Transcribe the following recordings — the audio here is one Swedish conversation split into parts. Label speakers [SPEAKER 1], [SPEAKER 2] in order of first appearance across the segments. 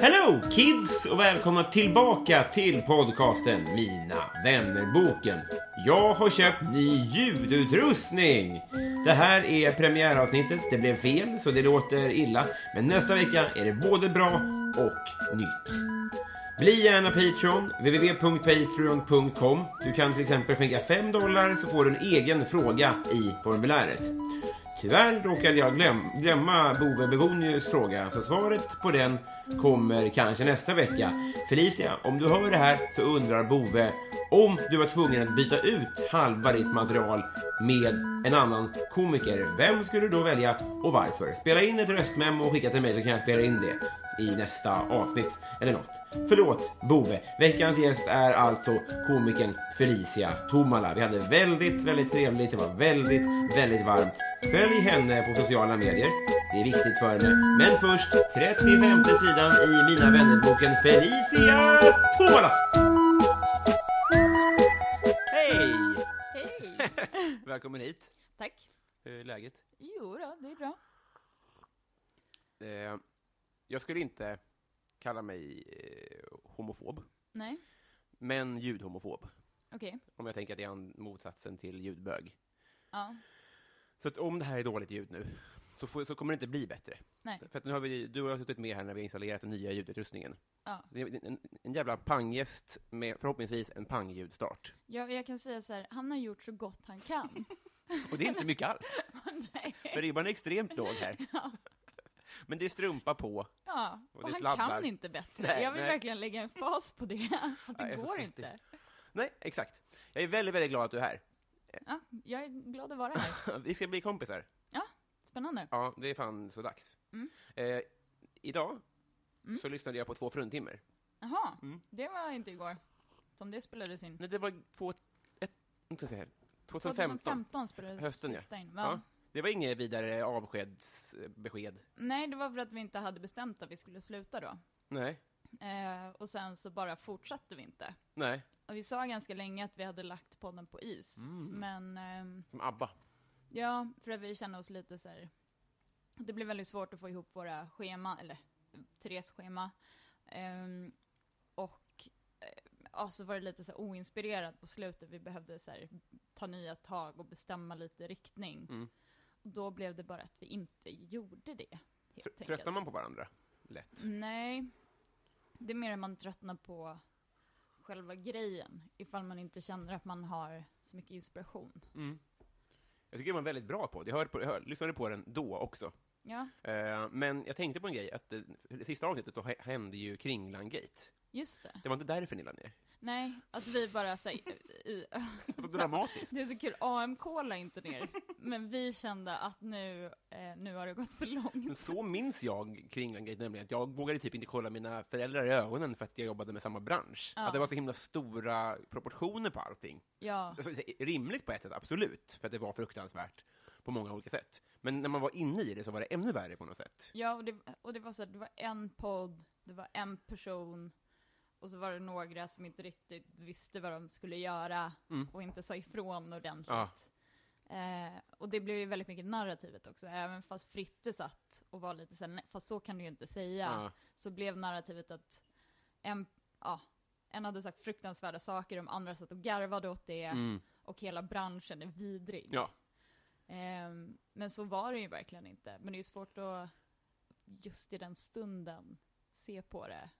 [SPEAKER 1] Hello kids och välkomna tillbaka till podcasten Mina vännerboken. Jag har köpt ny ljudutrustning. Det här är premiäravsnittet. Det blev fel så det låter illa. Men nästa vecka är det både bra och nytt. Bli gärna Patreon, www.patreon.com. Du kan till exempel skänka 5 dollar så får du en egen fråga i formuläret. Tyvärr råkade jag glöm, glömma Bove Bevonius fråga, så svaret på den kommer kanske nästa vecka. Felicia, om du hör det här så undrar Bove om du var tvungen att byta ut halva ditt material med en annan komiker. Vem skulle du då välja och varför? Spela in ett röstmemo och skicka till mig så kan jag spela in det i nästa avsnitt eller något. Förlåt, Bove. Veckans gäst är alltså komikern Felicia Tomala. Vi hade väldigt, väldigt trevligt. Det var väldigt, väldigt varmt. Följ henne på sociala medier. Det är viktigt för henne. Men först, 35 sidan i Mina vännerboken Felicia Tomala! Hej!
[SPEAKER 2] Hej!
[SPEAKER 1] Välkommen hit.
[SPEAKER 2] Tack.
[SPEAKER 1] Hur är läget?
[SPEAKER 2] Jo då, det är bra.
[SPEAKER 1] Eh, jag skulle inte kalla mig eh, homofob,
[SPEAKER 2] Nej,
[SPEAKER 1] men ljudhomofob.
[SPEAKER 2] okej.
[SPEAKER 1] Om jag tänker att det är an- motsatsen till ljudbög.
[SPEAKER 2] Ja.
[SPEAKER 1] Så att om det här är dåligt ljud nu, så, får, så kommer det inte bli bättre.
[SPEAKER 2] Nej.
[SPEAKER 1] För att nu har vi, du och jag har suttit med här när vi har installerat den nya ljudutrustningen.
[SPEAKER 2] Ja.
[SPEAKER 1] Det är en, en jävla panggäst med förhoppningsvis en pangljudstart.
[SPEAKER 2] Jag, jag kan säga så här, han har gjort så gott han kan.
[SPEAKER 1] Och det är inte mycket alls,
[SPEAKER 2] Nej.
[SPEAKER 1] för ribban är extremt låg här.
[SPEAKER 2] Ja.
[SPEAKER 1] Men det är strumpa på.
[SPEAKER 2] Ja, och,
[SPEAKER 1] det
[SPEAKER 2] han
[SPEAKER 1] sladdar.
[SPEAKER 2] kan inte bättre.
[SPEAKER 1] Nej,
[SPEAKER 2] jag vill
[SPEAKER 1] nej.
[SPEAKER 2] verkligen lägga en fas på det. Att det
[SPEAKER 1] Nej, jag är så
[SPEAKER 2] går
[SPEAKER 1] svettig.
[SPEAKER 2] inte.
[SPEAKER 1] Nej, exakt. Jag är väldigt, väldigt glad att du är här.
[SPEAKER 2] Ja, jag är glad att vara här.
[SPEAKER 1] Vi ska bli kompisar.
[SPEAKER 2] Spännande.
[SPEAKER 1] Ja, det är fan så dags.
[SPEAKER 2] Mm.
[SPEAKER 1] Eh, idag
[SPEAKER 2] Mm.
[SPEAKER 1] så lyssnade jag på två fruntimmer.
[SPEAKER 2] Jaha,
[SPEAKER 1] Mm.
[SPEAKER 2] det var inte igår som det spelades in.
[SPEAKER 1] Nej, det var två, ett, inte så här, 2015.
[SPEAKER 2] 2015 spelades
[SPEAKER 1] Hösten, ja.
[SPEAKER 2] sista in.
[SPEAKER 1] Ja.
[SPEAKER 2] Va?
[SPEAKER 1] Det var inget vidare avskedsbesked.
[SPEAKER 2] Nej, det var för att vi inte hade bestämt att vi skulle sluta då.
[SPEAKER 1] Nej,
[SPEAKER 2] Eh, och sen så bara fortsatte vi inte.
[SPEAKER 1] nej.
[SPEAKER 2] Och vi sa ganska länge att vi hade lagt podden på is.
[SPEAKER 1] Mm.
[SPEAKER 2] Men ehm,
[SPEAKER 1] Som ABBA.
[SPEAKER 2] ja, för att vi kände oss lite så här. Det blev väldigt svårt att få ihop våra schema, eller Therese schema. Ehm, och eh, ja, så var det lite så här oinspirerat på slutet. Vi behövde så här, ta nya tag och bestämma lite riktning.
[SPEAKER 1] Mm.
[SPEAKER 2] Och då blev det bara att vi inte gjorde det. Helt
[SPEAKER 1] Tr-
[SPEAKER 2] enkelt.
[SPEAKER 1] Tröttnar man på varandra? Lätt.
[SPEAKER 2] Nej. Det är mer att man tröttnar på själva grejen. Ifall man inte känner att man har så mycket inspiration.
[SPEAKER 1] Mm. Jag tycker det var en väldigt bra podd. Jag, hörde på, jag hörde, lyssnade på den då också.
[SPEAKER 2] Ja,
[SPEAKER 1] Eh, men jag tänkte på en grej, att det, det sista avsnittet då hä- hände ju Kringlan-gate.
[SPEAKER 2] just det.
[SPEAKER 1] Det var inte därför ni la ner.
[SPEAKER 2] Nej, att vi bara säger... I,
[SPEAKER 1] Så dramatiskt.
[SPEAKER 2] det är så kul, AMK la inte ner. Men vi kände att nu, eh, nu har det gått för
[SPEAKER 1] Men
[SPEAKER 2] långt.
[SPEAKER 1] så minns jag Kringlan-gate, nämligen att jag vågade typ inte kolla mina föräldrar i ögonen för att jag jobbade med samma bransch.
[SPEAKER 2] Ja.
[SPEAKER 1] Att det var så himla stora proportioner på allting.
[SPEAKER 2] Ja,
[SPEAKER 1] Alltså, rimligt på ett sätt, absolut, för att det var fruktansvärt på många olika sätt. Men när man var inne i det så var det ännu värre på något sätt.
[SPEAKER 2] ja och, det, och det var så här, det var en podd, det var en person. Och så var det några som inte riktigt visste vad de skulle göra
[SPEAKER 1] Mm.
[SPEAKER 2] och inte sa ifrån ordentligt.
[SPEAKER 1] Ja.
[SPEAKER 2] Eh, och det blev ju väldigt mycket narrativet också, även fast Fritte satt och var lite såhär, "Nej, fast så kan du ju inte säga.
[SPEAKER 1] Ja.
[SPEAKER 2] Så blev narrativet att en, ja, en hade sagt fruktansvärda saker, de andra satt och garvade åt det,
[SPEAKER 1] Mm.
[SPEAKER 2] och hela branschen är vidrig.
[SPEAKER 1] Ja.
[SPEAKER 2] Eh, Men så var det ju verkligen inte. Men det är svårt att just i den stunden se på det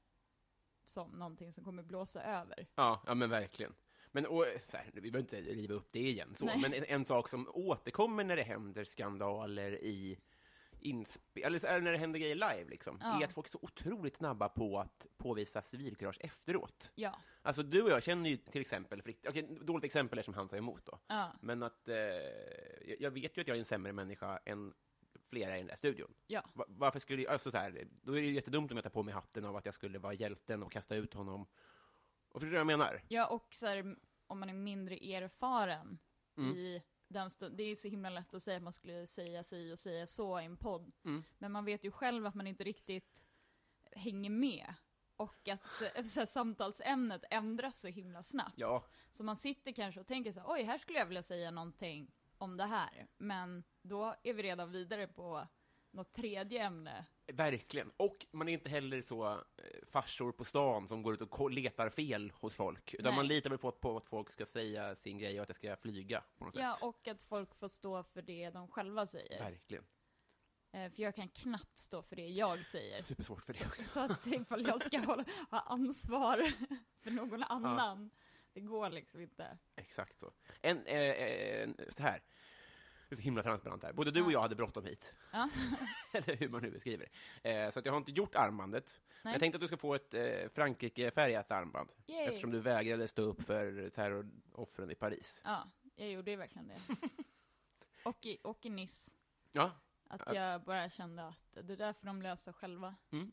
[SPEAKER 2] som någonting som kommer blåsa över.
[SPEAKER 1] Ja, ja men verkligen. Men och, så här, vi behöver inte riva upp det igen, så.
[SPEAKER 2] Nej.
[SPEAKER 1] men en, en sak som återkommer när det händer skandaler i inspel, eller så här, när det händer grejer live, liksom,
[SPEAKER 2] Ja.
[SPEAKER 1] är att folk är så otroligt snabba på att påvisa civilkurage efteråt.
[SPEAKER 2] Ja,
[SPEAKER 1] Alltså du och jag känner ju till exempel Fritte, okej, dåligt exempel är som han tar emot då,
[SPEAKER 2] ja,
[SPEAKER 1] men att eh, jag- jag vet ju att jag är en sämre människa än flera i den där studion.
[SPEAKER 2] ja,
[SPEAKER 1] Va- Varför skulle jag, alltså så här, då är det ju jättedumt om jag tar på mig hatten av att jag skulle vara hjälten och kasta ut honom. Och förstår du vad jag menar?
[SPEAKER 2] ja och så här, om man är mindre erfaren
[SPEAKER 1] Mm.
[SPEAKER 2] i den stunden. Det är ju så himla lätt att säga att man skulle säga si och säga så i en podd.
[SPEAKER 1] Mm.
[SPEAKER 2] Men man vet ju själv att man inte riktigt hänger med. Och att eh, så här, samtalsämnet ändras så himla snabbt.
[SPEAKER 1] Ja,
[SPEAKER 2] Så man sitter kanske och tänker så här, oj, här skulle jag vilja säga någonting om det här. Men då är vi redan vidare på något tredje ämne.
[SPEAKER 1] verkligen. Och man är inte heller så eh, farsor på stan som går ut och ko- letar fel hos folk, utan
[SPEAKER 2] Nej.
[SPEAKER 1] man litar väl på, på att folk ska säga sin grej och att det ska flyga på något
[SPEAKER 2] Ja,
[SPEAKER 1] sätt.
[SPEAKER 2] och att folk får stå för det de själva säger.
[SPEAKER 1] Verkligen.
[SPEAKER 2] Eh, för jag kan knappt stå för det jag säger.
[SPEAKER 1] Supersvårt för det också.
[SPEAKER 2] Så att ifall jag ska hålla, ha ansvar för någon annan, det går liksom inte.
[SPEAKER 1] Exakt så. En, eh, eh, så här. Det är så himla transparent här. Både du och
[SPEAKER 2] Ja.
[SPEAKER 1] jag hade bråttom hit.
[SPEAKER 2] Ja.
[SPEAKER 1] Eller hur man nu beskriver det. Eh, så att jag har inte gjort armbandet. Men
[SPEAKER 2] Nej.
[SPEAKER 1] jag tänkte att du ska få ett eh, Frankrike-färgat armband.
[SPEAKER 2] Yay.
[SPEAKER 1] Eftersom du vägrade stå upp för terroroffren i Paris.
[SPEAKER 2] Ja, jag gjorde ju verkligen det. Och i, och i Nice.
[SPEAKER 1] Ja.
[SPEAKER 2] Att jag bara kände att det där får de lösa själva.
[SPEAKER 1] Men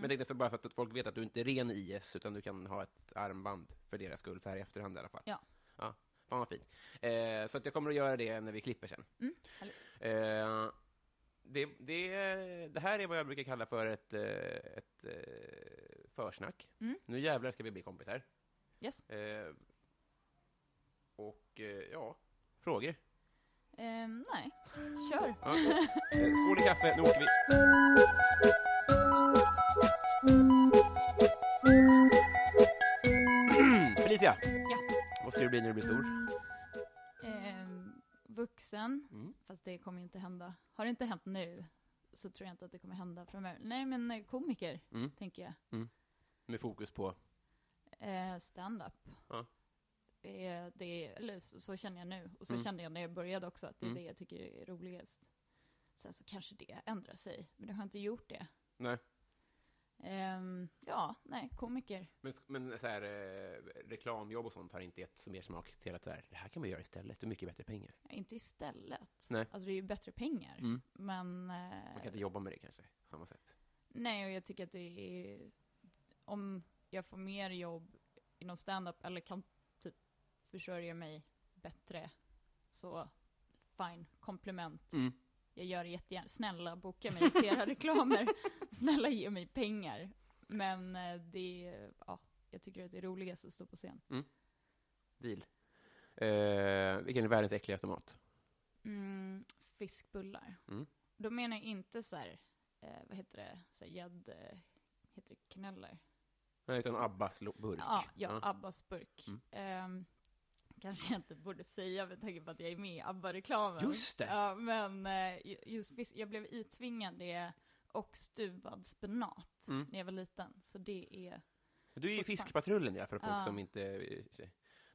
[SPEAKER 1] jag tänkte så bara för att folk vet att du inte är ren IS, utan du kan ha ett armband för deras skull, så här i efterhand i alla fall.
[SPEAKER 2] Ja.
[SPEAKER 1] ja. Fan vad fint. Eh, så att jag kommer att göra det när vi klipper sen.
[SPEAKER 2] Mm, härligt.
[SPEAKER 1] Eh, det, det, det här är vad jag brukar kalla för ett, eh, ett eh, försnack.
[SPEAKER 2] Mm.
[SPEAKER 1] Nu jävlar ska vi bli kompisar.
[SPEAKER 2] Yes.
[SPEAKER 1] Eh, och eh, ja, frågor.
[SPEAKER 2] Ehm, nej, kör.
[SPEAKER 1] Ja. Eh, Skål i kaffe, nu åker vi. Felicia,
[SPEAKER 2] Ja.
[SPEAKER 1] vad ska du bli när du blir stor?
[SPEAKER 2] Ehm, vuxen,
[SPEAKER 1] Mm.
[SPEAKER 2] fast det kommer ju inte hända. Har det inte hänt nu så tror jag inte att det kommer hända framöver. Nej, men eh, komiker,
[SPEAKER 1] Mm.
[SPEAKER 2] tänker jag.
[SPEAKER 1] Med fokus på...
[SPEAKER 2] Eh, Stand-up.
[SPEAKER 1] Ja.
[SPEAKER 2] Det är, det är, eller så, så känner jag nu, och så
[SPEAKER 1] Mm.
[SPEAKER 2] kände jag när jag började också, att det är
[SPEAKER 1] Mm.
[SPEAKER 2] det jag tycker är roligast. Sen så kanske det ändrar sig, men det har inte gjort det.
[SPEAKER 1] Nej.
[SPEAKER 2] Ehm, ja, nej, komiker.
[SPEAKER 1] Men, sk- men så här, eh, reklamjobb och sånt har inte gett så mer smak till att så här, det här kan man göra istället, det är mycket bättre pengar.
[SPEAKER 2] Ja, Inte istället.
[SPEAKER 1] Nej.
[SPEAKER 2] Alltså det är ju bättre pengar.
[SPEAKER 1] Mm.
[SPEAKER 2] Men...
[SPEAKER 1] Man
[SPEAKER 2] eh,
[SPEAKER 1] kan inte jobba med det kanske, på samma sätt.
[SPEAKER 2] Nej, och jag tycker att det är... Om jag får mer jobb inom stand-up eller kan typ försörja mig bättre, så fine, komplement.
[SPEAKER 1] Mm.
[SPEAKER 2] Jag gör det jättegärna. Snälla, boka mig till era reklamer. Snälla, ge mig pengar. Men eh, det är... Ja, jag tycker att det är roligast att stå på scen.
[SPEAKER 1] Deal. Eh, vilken är världens äckligaste mat?
[SPEAKER 2] Mm, fiskbullar.
[SPEAKER 1] Mm.
[SPEAKER 2] Då menar jag inte så här, eh, vad heter det, så här gädd, eh, heter det knuller?
[SPEAKER 1] Nej, utan Abbas lo- burk.
[SPEAKER 2] Ja, ja,
[SPEAKER 1] Ja.
[SPEAKER 2] Abbas burk.
[SPEAKER 1] Mm.
[SPEAKER 2] Ehm, kanske jag inte borde säga med tanke på att jag är med i ABBA-reklamen.
[SPEAKER 1] Just det.
[SPEAKER 2] Ja, men eh, ju- just fisk, jag blev itvingad det och stuvad spenat
[SPEAKER 1] Mm.
[SPEAKER 2] när jag var liten. Så det är,
[SPEAKER 1] Du är ju
[SPEAKER 2] Fortfarande.
[SPEAKER 1] Fiskpatrullen, ja, för folk
[SPEAKER 2] Ja.
[SPEAKER 1] som inte... eh,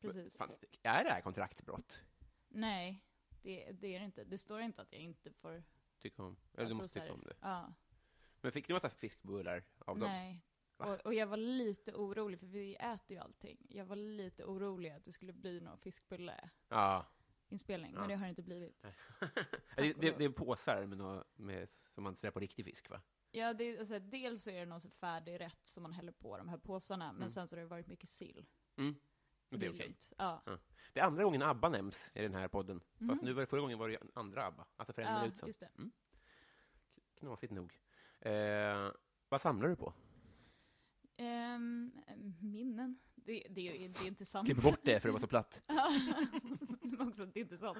[SPEAKER 2] precis.
[SPEAKER 1] Fan, är det här kontraktbrott?
[SPEAKER 2] Nej, det, det är det inte. Det står inte att jag inte får,
[SPEAKER 1] Tycker om. Eller du
[SPEAKER 2] Alltså,
[SPEAKER 1] måste
[SPEAKER 2] så här,
[SPEAKER 1] tycka om det.
[SPEAKER 2] ja.
[SPEAKER 1] Men fick du massa fiskbullar av dem?
[SPEAKER 2] Nej.
[SPEAKER 1] Va?
[SPEAKER 2] Och, och jag var lite orolig, för vi äter ju allting. Jag var lite orolig att det skulle bli någon fiskbulle-inspelning,
[SPEAKER 1] Ja. Ja.
[SPEAKER 2] men det har det inte blivit.
[SPEAKER 1] det,
[SPEAKER 2] och
[SPEAKER 1] det,
[SPEAKER 2] lov.
[SPEAKER 1] det är påsar med nå- med, som man ser på riktig fisk, va?
[SPEAKER 2] Ja, det, är- alltså, dels så är det någon så färdig rätt som man häller på de här påsarna, men
[SPEAKER 1] Mm.
[SPEAKER 2] sen så har det varit mycket sill.
[SPEAKER 1] Och det är okej.
[SPEAKER 2] lugnt. Ja.
[SPEAKER 1] Det är andra gången ABBA nämns i den här podden. Fast
[SPEAKER 2] Mhm.
[SPEAKER 1] nu var det förra gången var det ju andra ABBA. Alltså för en
[SPEAKER 2] ja,
[SPEAKER 1] minut sedan.
[SPEAKER 2] just det.
[SPEAKER 1] Knasigt nog. Eh, vad samlar du på?
[SPEAKER 2] Ehm, minnen. Det, det, är- det är inte sant.
[SPEAKER 1] Klipp bort det för det var så platt.
[SPEAKER 2] Ja, men också, det är inte sant.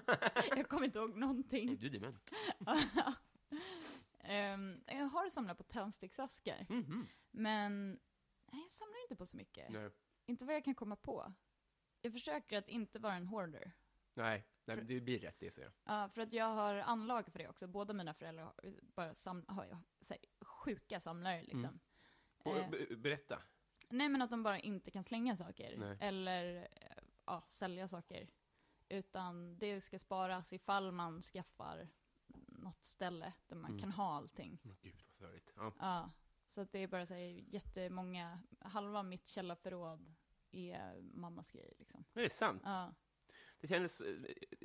[SPEAKER 2] Jag kommer inte ihåg någonting.
[SPEAKER 1] Du dement.
[SPEAKER 2] Ehm, jag har samlat på tändsticksaskar,
[SPEAKER 1] Mhm.
[SPEAKER 2] men nej, jag samlar inte på så mycket.
[SPEAKER 1] Nej.
[SPEAKER 2] Inte vad jag kan komma på. Jag försöker att inte vara en hoarder.
[SPEAKER 1] Nej. Nej, men det blir rätt det ser jag.
[SPEAKER 2] Ja, för att jag har anlag för det också. Båda mina föräldrar har, bara sam, har jag, så här, sjuka samlare liksom.
[SPEAKER 1] Och,
[SPEAKER 2] Eh,
[SPEAKER 1] Mm. be- Berätta.
[SPEAKER 2] nej, men att de bara inte kan slänga saker.
[SPEAKER 1] Nej.
[SPEAKER 2] Eller eh, ja, sälja saker. Utan det ska sparas ifall man skaffar något ställe där
[SPEAKER 1] Mm.
[SPEAKER 2] man kan ha allting.
[SPEAKER 1] Men Gud, vad sorgligt. Ja.
[SPEAKER 2] Ja, så att det är bara så här, jättemånga, halva mitt källarförråd är mammas grejer liksom.
[SPEAKER 1] Men Det är sant.
[SPEAKER 2] Ja,
[SPEAKER 1] Det kändes, eh,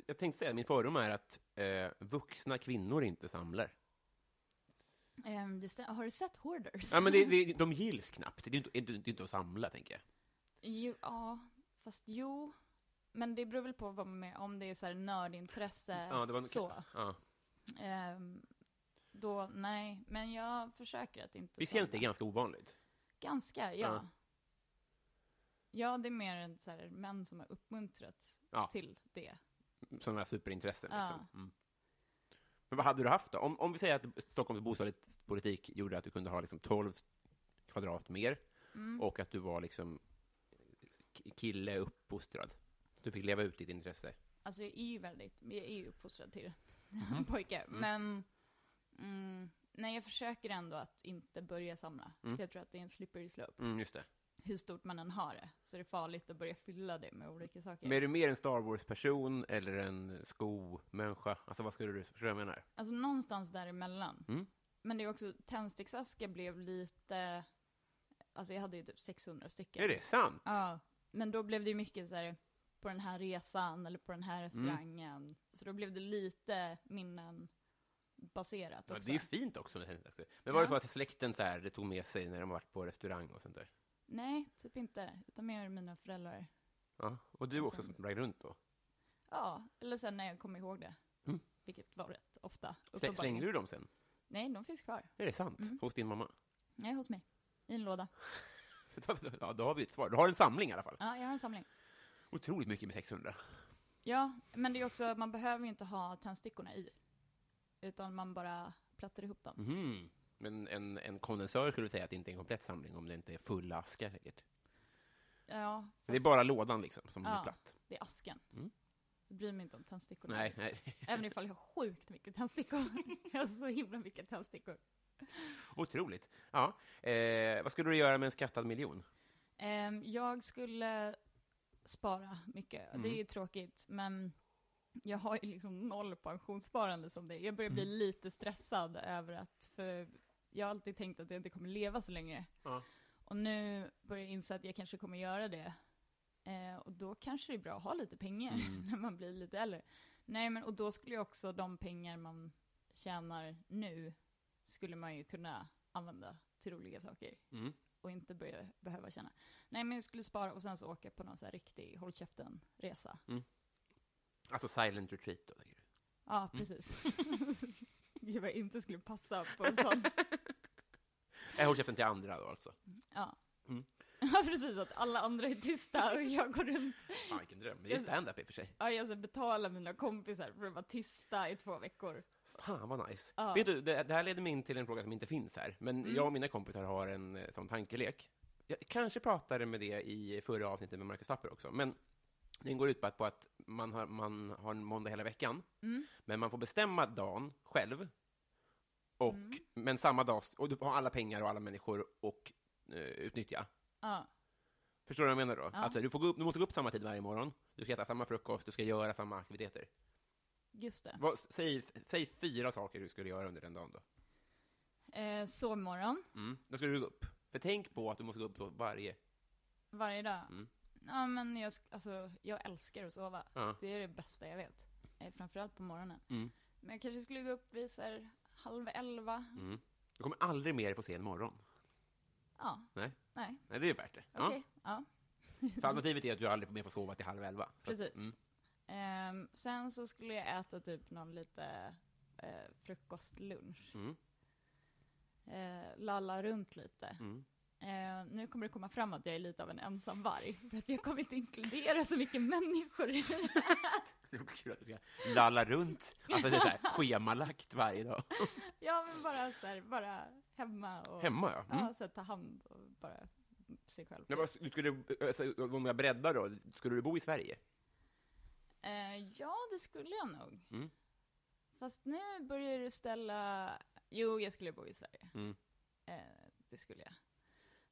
[SPEAKER 1] jag tänkte säga, min fördom är att eh, vuxna kvinnor inte samlar.
[SPEAKER 2] Ehm, det stä- har du sett Hoarders?
[SPEAKER 1] Ja, men det, det, de gills knappt. Det är inte, det är inte att samla, tänker jag.
[SPEAKER 2] Jo, ja, fast jo. Men det beror väl på vad man är, om det är så här nördintresse.
[SPEAKER 1] Ja, det var
[SPEAKER 2] så.
[SPEAKER 1] Ja.
[SPEAKER 2] Ehm, då, nej, men jag försöker att inte
[SPEAKER 1] Visst känns det
[SPEAKER 2] samla.
[SPEAKER 1] ganska ovanligt?
[SPEAKER 2] Ganska, ja.
[SPEAKER 1] Ja.
[SPEAKER 2] ja. det är mer en så här, män som har uppmuntrats
[SPEAKER 1] Ja.
[SPEAKER 2] till det.
[SPEAKER 1] Sådana här superintressen.
[SPEAKER 2] Ja.
[SPEAKER 1] Liksom. Mm. Men vad hade du haft då? Om, om vi säger att Stockholms bostadspolitik gjorde att du kunde ha liksom 12 kvadrat mer och att du var liksom k- kille uppfostrad. Du fick leva ut ditt intresse.
[SPEAKER 2] Alltså jag är ju väldigt, jag är ju uppfostrad till
[SPEAKER 1] Mhm.
[SPEAKER 2] pojkar. Men, mm, nej jag försöker ändå att inte börja samla. För jag tror att det är en slippery slope.
[SPEAKER 1] Mm, just det.
[SPEAKER 2] Hur stort man än har det, så är det farligt att börja fylla det med olika saker.
[SPEAKER 1] Men är du mer en Star Wars-person eller en skomänniska? Alltså vad skulle du, förstår du vad jag menar?
[SPEAKER 2] Alltså någonstans däremellan.
[SPEAKER 1] Mm.
[SPEAKER 2] Men det är också, tändsticksaskar blev lite, alltså jag hade ju typ 600 stycken.
[SPEAKER 1] Är det sant?
[SPEAKER 2] Ja, men då blev det ju mycket så här på den här resan eller på den
[SPEAKER 1] Mm.
[SPEAKER 2] här restaurangen. Så då blev det lite minnen baserat
[SPEAKER 1] Ja,
[SPEAKER 2] också.
[SPEAKER 1] det är ju fint också med tändstickor. Men var det
[SPEAKER 2] Ja.
[SPEAKER 1] så att släkten så här, det tog med sig när de varit på restaurang och sånt där?
[SPEAKER 2] Nej, typ inte. Utan mer mina föräldrar.
[SPEAKER 1] Ja. Och du
[SPEAKER 2] Och
[SPEAKER 1] också
[SPEAKER 2] sen-
[SPEAKER 1] som sprang runt då?
[SPEAKER 2] Ja, eller sen när jag kom ihåg det.
[SPEAKER 1] Mm.
[SPEAKER 2] Vilket var rätt ofta.
[SPEAKER 1] Slä-
[SPEAKER 2] uppenbarligen.
[SPEAKER 1] Slängde du dem sen?
[SPEAKER 2] Nej, de finns kvar.
[SPEAKER 1] Är det sant? Hos din mamma?
[SPEAKER 2] Nej, hos mig. I en låda.
[SPEAKER 1] ja, då har vi ett svar. Du har en samling i alla fall.
[SPEAKER 2] Ja, jag har en samling.
[SPEAKER 1] Otroligt mycket med 600.
[SPEAKER 2] Ja, men det är också, man behöver ju inte ha tändstickorna i. Utan man bara plattar ihop dem.
[SPEAKER 1] Mhm. Men en, en kondensör skulle säga att det inte är en komplett samling om det inte är fulla askar säkert.
[SPEAKER 2] Ja, fast
[SPEAKER 1] Det är bara lådan liksom, som är
[SPEAKER 2] Ja.
[SPEAKER 1] platt.
[SPEAKER 2] det är asken.
[SPEAKER 1] Mm.
[SPEAKER 2] Jag bryr mig inte om tändstickorna.
[SPEAKER 1] Nej, nej.
[SPEAKER 2] Även ifall jag har sjukt mycket tändstickor. jag har så himla mycket tändstickor.
[SPEAKER 1] Otroligt. Ja. Eh, vad skulle du göra med en skattad miljon?
[SPEAKER 2] Ehm, jag skulle spara mycket. Det är ju tråkigt, men jag har ju liksom noll pensionssparande som det är. Jag börjar bli lite stressad över att, för jag har alltid tänkt att jag inte kommer leva så länge.
[SPEAKER 1] Ja.
[SPEAKER 2] Och nu börjar jag inse att jag kanske kommer göra det. Eh, och då kanske det är bra att ha lite pengar när man blir lite äldre. Nej, men och då skulle ju också de pengar man tjänar nu skulle man ju kunna använda till roliga saker
[SPEAKER 1] Mm.
[SPEAKER 2] och inte börja, behöva känna. Nej, men jag skulle spara och sen så åka på någon så här riktig håll käften-resa.
[SPEAKER 1] Alltså silent retreat då? tänker du?
[SPEAKER 2] Ja,
[SPEAKER 1] Mm.
[SPEAKER 2] precis. Gud, vad jag inte skulle passa på en sån.
[SPEAKER 1] Eh, håll käften till andra då alltså.
[SPEAKER 2] Ja.
[SPEAKER 1] Mm.
[SPEAKER 2] ja, precis. Att alla andra är tysta och jag går runt.
[SPEAKER 1] Fan vilken dröm. Det är stand-up i och för sig.
[SPEAKER 2] Ja, jag ska betala mina kompisar för att vara tysta i två veckor.
[SPEAKER 1] Fan vad nice.
[SPEAKER 2] Ja.
[SPEAKER 1] Vet du, det, det här leder mig in till en fråga som inte finns här. Men jag och mina kompisar har en eh, sån tankelek. Jag kanske pratade med det i förra avsnittet med Marcus Tapper också. Men den går ut på att, på att man, har, man har en måndag hela veckan. Men man får bestämma dagen själv. Och, Men samma dag, och du har alla pengar och alla människor och eh, utnyttja.
[SPEAKER 2] Ja,
[SPEAKER 1] Förstår du vad jag menar då? Alltså, du, får gå upp, du måste gå upp samma tid varje morgon. Du ska äta samma frukost, du ska göra samma aktiviteter.
[SPEAKER 2] just det.
[SPEAKER 1] Vad, säg, säg fyra saker du skulle göra under den dagen då.
[SPEAKER 2] Eh, sovmorgon
[SPEAKER 1] Mm. Då ska du gå upp. För tänk på att du måste gå upp då varje...
[SPEAKER 2] varje dag.
[SPEAKER 1] Mm.
[SPEAKER 2] Ja, men jag, sk- alltså, jag älskar att sova.
[SPEAKER 1] Ja.
[SPEAKER 2] Det är det bästa jag vet. Eh, framförallt på morgonen.
[SPEAKER 1] Mm.
[SPEAKER 2] Men jag kanske skulle gå upp vid så här, halv elva.
[SPEAKER 1] Mm. Du kommer aldrig mer få se en morgon.
[SPEAKER 2] Ja,
[SPEAKER 1] Nej,
[SPEAKER 2] nej,
[SPEAKER 1] Nej det är värt det. Ja.
[SPEAKER 2] okej. Ja,
[SPEAKER 1] För alternativet är att du aldrig mer får sova till halv elva. Så
[SPEAKER 2] precis.
[SPEAKER 1] Att, mm.
[SPEAKER 2] Ehm, sen så skulle jag äta typ någon lite eh, frukostlunch.
[SPEAKER 1] Mm.
[SPEAKER 2] Eh, lalla runt lite.
[SPEAKER 1] Mm.
[SPEAKER 2] Eh, nu kommer det komma fram att jag är lite av en ensam varg. För att jag kommer inte inkludera så mycket människor i det
[SPEAKER 1] Det är kul att du ska lalla runt, alltså det är så här, schemalagt varje dag.
[SPEAKER 2] Ja, men bara så här, bara hemma och
[SPEAKER 1] Hemma ja. Mm.
[SPEAKER 2] ja, så här, ta hand och bara sig själv.
[SPEAKER 1] eh, Men vad skulle du, alltså, om jag breddar då, skulle du bo i Sverige?
[SPEAKER 2] Eh, ja, det skulle jag nog.
[SPEAKER 1] Mm.
[SPEAKER 2] Fast nu börjar du ställa... Jo, jag skulle bo i Sverige.
[SPEAKER 1] Mm.
[SPEAKER 2] Eh, det skulle jag.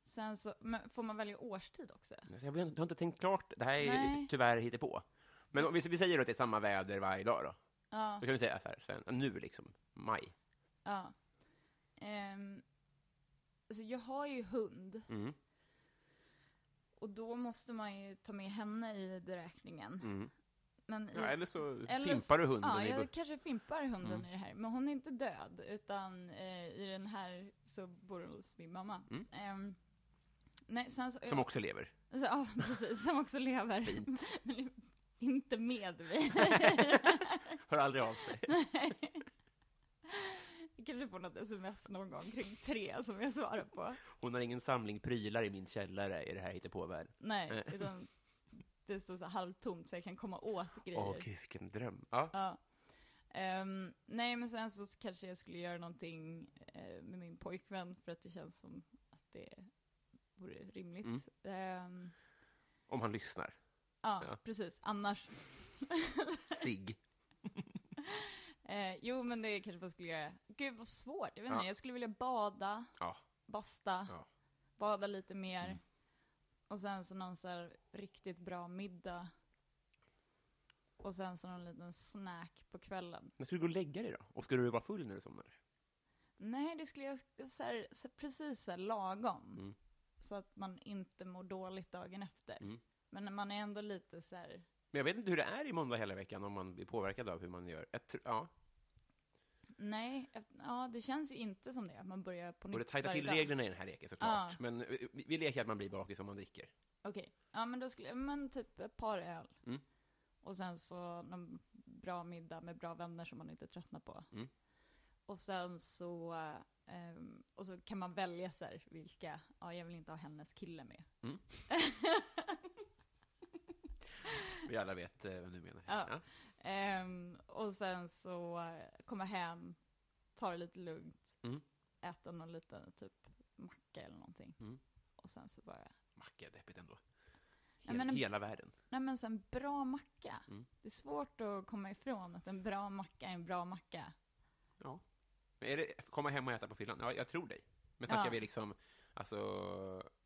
[SPEAKER 2] Sen så, men får man välja årstid också?
[SPEAKER 1] Alltså, Jag blir- du har inte tänkt klart. Det här är
[SPEAKER 2] Nej.
[SPEAKER 1] tyvärr hittepå. Men om vi, vi säger då att det är samma väder varje dag då.
[SPEAKER 2] Ja.
[SPEAKER 1] Då kan vi säga så här, sen, nu liksom, maj.
[SPEAKER 2] ja. Ehm, alltså jag har ju hund
[SPEAKER 1] Mm.
[SPEAKER 2] och då måste man ju ta med henne i beräkningen.
[SPEAKER 1] Mm.
[SPEAKER 2] Men i,
[SPEAKER 1] Ja, eller så
[SPEAKER 2] eller så-
[SPEAKER 1] fimpar du hunden.
[SPEAKER 2] Ja,
[SPEAKER 1] i
[SPEAKER 2] jag
[SPEAKER 1] bu-
[SPEAKER 2] kanske fimpar hunden
[SPEAKER 1] Mm.
[SPEAKER 2] i det här. Men hon är inte död, utan eh, i den här så bor hon hos min mamma.
[SPEAKER 1] Mm.
[SPEAKER 2] Ehm, nej, sen så,
[SPEAKER 1] Som också lever.
[SPEAKER 2] Så, ja, precis. Som också lever.
[SPEAKER 1] Fint.
[SPEAKER 2] Men inte med mig.
[SPEAKER 1] Hör aldrig av sig.
[SPEAKER 2] Jag kanske får något sms någon gång kring tre som jag svarar på.
[SPEAKER 1] Hon har ingen samling prylar i min källare i det här hittepåvärlden.
[SPEAKER 2] Nej,
[SPEAKER 1] Nej.
[SPEAKER 2] utan det står så här halvtomt så jag kan komma åt grejer.
[SPEAKER 1] Åh gud, vilken dröm. Ja.
[SPEAKER 2] Ja. Ehm, nej, men sen så kanske jag skulle göra någonting eh, med min pojkvän för att det känns som att det vore rimligt.
[SPEAKER 1] Mm.
[SPEAKER 2] Ehm,
[SPEAKER 1] Om han lyssnar.
[SPEAKER 2] ja,
[SPEAKER 1] Ja.
[SPEAKER 2] precis. Annars.
[SPEAKER 1] Sig.
[SPEAKER 2] Eh, jo, men det kanske man skulle göra. Gud, vad svårt. Jag vet
[SPEAKER 1] Ja.
[SPEAKER 2] inte, jag skulle vilja bada,
[SPEAKER 1] Ja.
[SPEAKER 2] basta,
[SPEAKER 1] Ja.
[SPEAKER 2] bada lite mer.
[SPEAKER 1] Mm.
[SPEAKER 2] Och sen så någon så här riktigt bra middag. Och sen så någon liten snack på kvällen.
[SPEAKER 1] Men ska du gå och lägga dig då? Och ska du vara full när du somnar?
[SPEAKER 2] Nej, det skulle jag så här, så precis så här lagom.
[SPEAKER 1] Mm.
[SPEAKER 2] Så att man inte mår dåligt dagen efter.
[SPEAKER 1] Mm.
[SPEAKER 2] Men när man är ändå lite så här,
[SPEAKER 1] Men jag vet inte hur det är i måndag hela veckan om man blir påverkad av hur man gör. Jag tror- ja.
[SPEAKER 2] nej, eft- ja det känns ju inte som det, att man börjar på nytt
[SPEAKER 1] Och det tajtar
[SPEAKER 2] Mm, varje
[SPEAKER 1] till
[SPEAKER 2] dag.
[SPEAKER 1] reglerna i den här leken såklart.
[SPEAKER 2] Ja.
[SPEAKER 1] Men eh, vi vi leker att man blir bakis om man dricker.
[SPEAKER 2] Okej, ja men då skulle jag, men typ ett par öl.
[SPEAKER 1] Mm.
[SPEAKER 2] Och sen så någon bra middag med bra vänner som man inte tröttnar på.
[SPEAKER 1] Mm.
[SPEAKER 2] Och sen så, ehm, och så kan man välja så här vilka, ja jag vill inte ha hennes kille med.
[SPEAKER 1] Vi alla vet eh, vad du menar.
[SPEAKER 2] Ja. Ehm, och sen så eh, komma hem, ta det lite lugnt,
[SPEAKER 1] Mm.
[SPEAKER 2] äta någon liten typ macka eller någonting.
[SPEAKER 1] Mm.
[SPEAKER 2] Och sen så bara,
[SPEAKER 1] Macka är deppigt ändå.
[SPEAKER 2] Ja,
[SPEAKER 1] Hel,
[SPEAKER 2] men en-
[SPEAKER 1] Hela världen.
[SPEAKER 2] nej men sen bra macka.
[SPEAKER 1] Mm.
[SPEAKER 2] Det är svårt att komma ifrån att en bra macka är en bra macka.
[SPEAKER 1] Ja. Men är det komma hem och äta på fyllan? Ja, jag tror dig. Men snackar
[SPEAKER 2] Ja.
[SPEAKER 1] vi liksom, alltså,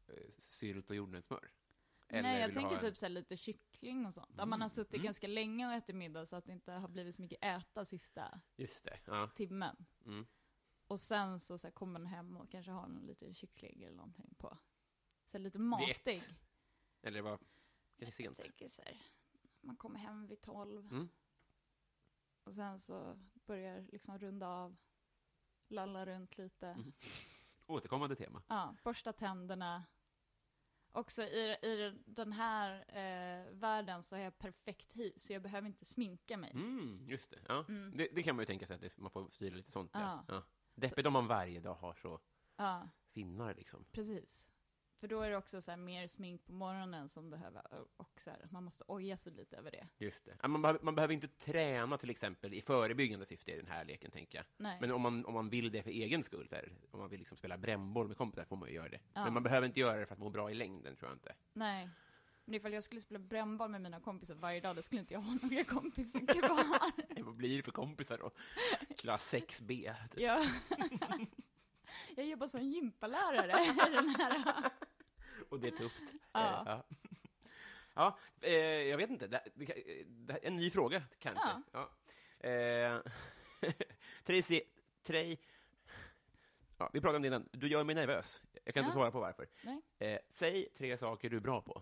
[SPEAKER 1] eh, sylt och jordnötssmör?
[SPEAKER 2] Nej,
[SPEAKER 1] vill
[SPEAKER 2] jag
[SPEAKER 1] du ha
[SPEAKER 2] tänker
[SPEAKER 1] en- Mm.
[SPEAKER 2] typ så här lite kyckling och sånt. Att man har suttit ganska länge och ätit middag så att det inte har blivit så mycket äta sista
[SPEAKER 1] Just det, ja.
[SPEAKER 2] timmen.
[SPEAKER 1] Mm.
[SPEAKER 2] Och sen så, så här, kommer man hem och kanske har någon liten kyckling eller någonting på. Så här, lite matig.
[SPEAKER 1] Eller det var kanske
[SPEAKER 2] Jag
[SPEAKER 1] sent.
[SPEAKER 2] tänker så här, man kommer hem vid tolv.
[SPEAKER 1] Mm.
[SPEAKER 2] Och sen så börjar liksom runda av, lalla runt lite.
[SPEAKER 1] Mm. Återkommande tema.
[SPEAKER 2] Ja, borsta tänderna. Också i, i den här eh, världen så har jag perfekt hy, så jag behöver inte sminka mig.
[SPEAKER 1] Mm, just det. Ja.
[SPEAKER 2] Mm.
[SPEAKER 1] Det, det kan man ju tänka sig att det, man får styra lite sånt. Ja.
[SPEAKER 2] Ja.
[SPEAKER 1] Ja. Deppigt om man varje dag har så
[SPEAKER 2] Ja,
[SPEAKER 1] finnar liksom.
[SPEAKER 2] precis. För då är det också så här mer smink på morgonen som behöver, och så här, man måste oja sig lite över det.
[SPEAKER 1] Just det. Ja, Man, behöver- man behöver inte träna till exempel i förebyggande syfte i den här leken, tänker jag.
[SPEAKER 2] Nej.
[SPEAKER 1] Men om man, om man vill det för egen skull, så här, om man vill liksom spela brännboll med kompisar, får man ju göra det.
[SPEAKER 2] Ja.
[SPEAKER 1] Men man behöver inte göra det för att må bra i längden, tror jag inte.
[SPEAKER 2] Nej. Men ifall jag skulle spela brännboll med mina kompisar varje dag, då skulle inte jag ha några kompisar kvar.
[SPEAKER 1] Nej, Vad blir det för kompisar då? Klass 6B? Typ.
[SPEAKER 2] jag... jag jobbar som gympalärare i den här.
[SPEAKER 1] Och det är tufft.
[SPEAKER 2] Ja.
[SPEAKER 1] Eh, ja. ja eh, jag vet inte. Det, det, kan- det, en ny fråga, kanske. Ja. Eh, Tracy, Trey... Ja, vi pratade om det innan. Du gör mig nervös. Jag kan inte
[SPEAKER 2] Ja.
[SPEAKER 1] svara på varför.
[SPEAKER 2] Nej.
[SPEAKER 1] Eh, säg tre saker du är bra på.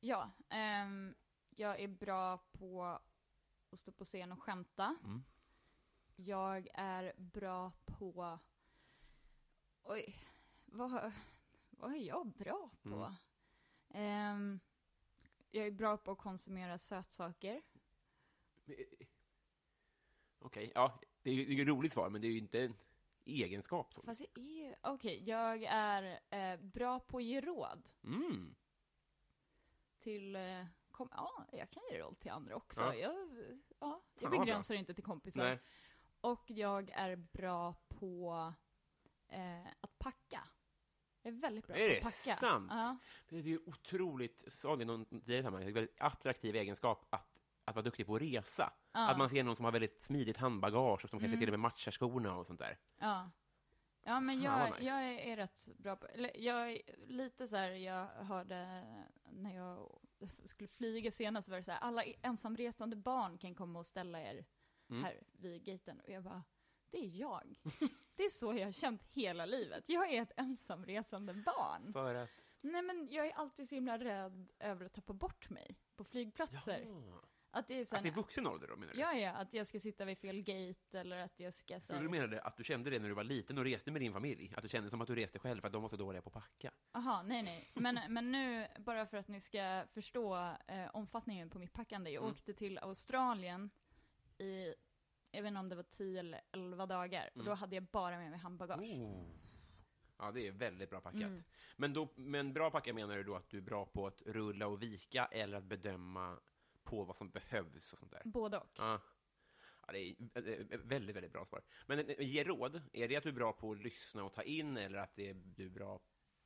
[SPEAKER 2] Ja, ehm, jag är bra på att stå på scen och skämta.
[SPEAKER 1] Mm.
[SPEAKER 2] Jag är bra på... Oj, vad, har- vad är jag bra på?
[SPEAKER 1] Mm.
[SPEAKER 2] Ehm, jag är bra på att konsumera sötsaker.
[SPEAKER 1] Okej, ja. Det är ju det är ju ett roligt svar, men det är ju inte en egenskap.
[SPEAKER 2] Fast jag är ju... Okej, jag är eh, bra på att ge råd
[SPEAKER 1] Mm.
[SPEAKER 2] till... Eh, kom, ja, jag kan ge råd till andra också.
[SPEAKER 1] Ja.
[SPEAKER 2] Jag, ja,
[SPEAKER 1] vad
[SPEAKER 2] jag
[SPEAKER 1] bra.
[SPEAKER 2] begränsar inte till kompisar.
[SPEAKER 1] Nej.
[SPEAKER 2] Och jag är bra på eh, att packa. Jag är väldigt bra
[SPEAKER 1] Är
[SPEAKER 2] på
[SPEAKER 1] det
[SPEAKER 2] att packa.
[SPEAKER 1] sant?
[SPEAKER 2] Ja.
[SPEAKER 1] Det är ju otroligt, sa det någon tidigare, sammanhang, det är en väldigt attraktiv egenskap att att vara duktig på att resa.
[SPEAKER 2] Ja. Mm.
[SPEAKER 1] Att man ser någon som har väldigt smidigt handbagage och som kanske till och med matchar skorna och sånt där.
[SPEAKER 2] Ja. Ja, men
[SPEAKER 1] Fan,
[SPEAKER 2] jag,
[SPEAKER 1] vad nice.
[SPEAKER 2] jag är, är rätt bra på, eller jag är lite så här, jag hörde när jag skulle flyga senast var det så här, alla ensamresande barn kan komma och ställa er
[SPEAKER 1] Mm.
[SPEAKER 2] här vid gaten. Och jag bara, det är jag. Det är så jag har känt hela livet. Jag är ett ensamresande barn.
[SPEAKER 1] För att...
[SPEAKER 2] Nej men jag är alltid så himla rädd över att tappa bort mig på flygplatser. Att det är så
[SPEAKER 1] Att det är
[SPEAKER 2] här,
[SPEAKER 1] vuxen ålder då, menar du?
[SPEAKER 2] ja, ja, att jag ska sitta vid fel gate eller att jag ska så
[SPEAKER 1] Så du
[SPEAKER 2] här,
[SPEAKER 1] menade att du kände det när du var liten och reste med din familj? Att du kände som att du reste själv för att de var så dåliga på att packa?
[SPEAKER 2] Aha, nej nej. Men, men nu, bara för att ni ska förstå eh, omfattningen på mitt packande. Jag
[SPEAKER 1] Mm.
[SPEAKER 2] åkte till Australien i, jag vet inte om det var 10 eller 11 dagar.
[SPEAKER 1] Mm.
[SPEAKER 2] Och då hade jag bara med mig handbagage.
[SPEAKER 1] Oh. Ja, det är väldigt bra packat.
[SPEAKER 2] Mm.
[SPEAKER 1] Men, då, men bra packat menar du då att du är bra på att rulla och vika eller att bedöma på vad som behövs och sånt där?
[SPEAKER 2] Både och.
[SPEAKER 1] Ja. Ja, det är eh, eh, väldigt, väldigt bra svar. Men eh, ge råd. Är det att du är bra på att lyssna och ta in eller att det är, du är bra...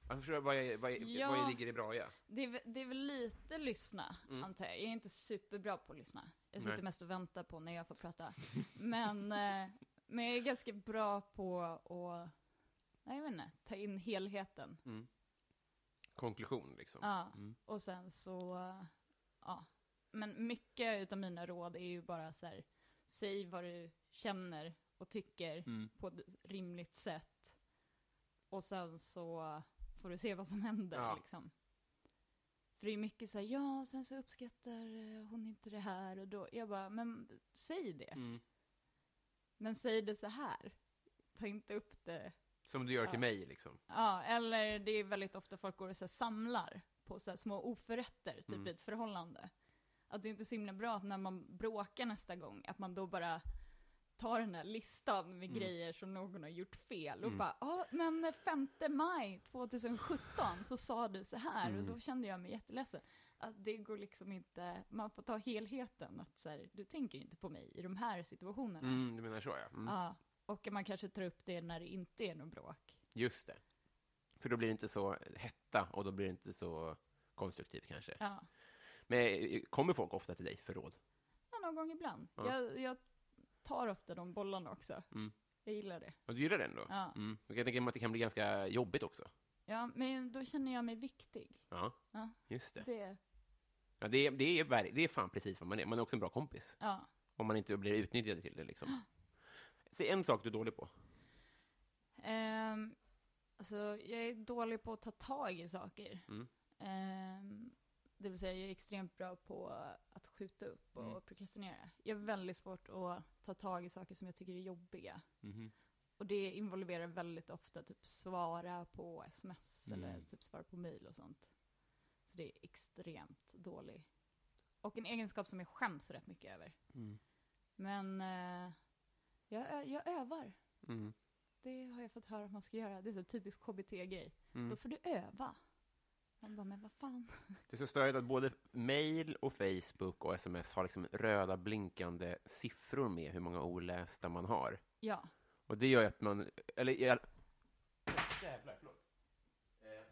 [SPEAKER 1] Jag förstår, vad, är, vad, är,
[SPEAKER 2] Ja.
[SPEAKER 1] vad är, ligger det bra i?
[SPEAKER 2] Det, är, väl- det är väl lite lyssna, antar jag. Jag är inte superbra på att lyssna. Jag sitter
[SPEAKER 1] Nej.
[SPEAKER 2] mest och väntar på när jag får prata. men, eh, men jag är ganska bra på att, nej jag vet inte, ta in helheten.
[SPEAKER 1] Konklusion, liksom.
[SPEAKER 2] Ja, och sen så, ja. Men mycket utav mina råd är ju bara så här, säg vad du känner och tycker
[SPEAKER 1] Mm.
[SPEAKER 2] på ett rimligt sätt. Och sen så får du se vad som händer
[SPEAKER 1] Ja.
[SPEAKER 2] liksom. För det är mycket så här, ja, sen så uppskattar eh, hon inte det här och då, jag bara, men säg det.
[SPEAKER 1] Mm.
[SPEAKER 2] Men säg det så här. Ta inte upp det
[SPEAKER 1] Som du gör till mig, liksom.
[SPEAKER 2] Ja, eller det är väldigt ofta folk går och så här, samlar på så här, små oförrätter, typ i ett förhållande. Att det är inte är så himla bra att när man bråkar nästa gång, att man då bara tar den här listan med grejer som någon har gjort fel och bara, ja men 5 maj 2017 så sa du så här och då kände jag mig jätteledsen. Att det går liksom inte, man får ta helheten, att så här, du tänker inte på mig i de här situationerna.
[SPEAKER 1] Mm, du menar så, ja. Mm.
[SPEAKER 2] Ja, och man kanske tar upp det när det inte är något bråk.
[SPEAKER 1] Just det. För då blir det inte så hetta och då blir det inte så konstruktivt, kanske.
[SPEAKER 2] Ja.
[SPEAKER 1] Men eh, kommer folk ofta till dig för råd?
[SPEAKER 2] Ja, Mm. någon gång ibland. Jag, jag tar ofta de bollarna också. Jag gillar det.
[SPEAKER 1] Ja, du gillar den då?
[SPEAKER 2] Ja.
[SPEAKER 1] Mm. Jag kan tänka mig att det kan bli ganska jobbigt också.
[SPEAKER 2] Ja, men då känner jag mig viktig.
[SPEAKER 1] Ja,
[SPEAKER 2] Ja.
[SPEAKER 1] just det.
[SPEAKER 2] Det,
[SPEAKER 1] Ja, det, är, det, är, ver- det är fan precis vad man är. Man är också en bra kompis.
[SPEAKER 2] ja.
[SPEAKER 1] Om man inte blir utnyttjad till det liksom. Säg en sak du är dålig på.
[SPEAKER 2] Ehm, alltså, jag är dålig på att ta tag i saker. Ehm, det vill säga, jag är extremt bra på att skjuta upp och prokrastinera. Jag är väldigt svårt att ta tag i saker som jag tycker är jobbiga.
[SPEAKER 1] Mm-hmm.
[SPEAKER 2] Och det involverar väldigt ofta typ svara på sms eller typ svara på mail och sånt. Så det är extremt dålig. Och en egenskap som jag skäms rätt mycket över. Men eh, jag, ö- jag övar.
[SPEAKER 1] Mm.
[SPEAKER 2] Det har jag fått höra att man ska göra. Det är så typisk KBT-grej. Då får du öva. Man bara, men vad fan.
[SPEAKER 1] Det är så störigt att både mail och Facebook och sms har liksom röda blinkande siffror med hur många olästa man har.
[SPEAKER 2] Ja.
[SPEAKER 1] Och det gör ju att man... Eller i all... Jävlar, förlåt. Eh,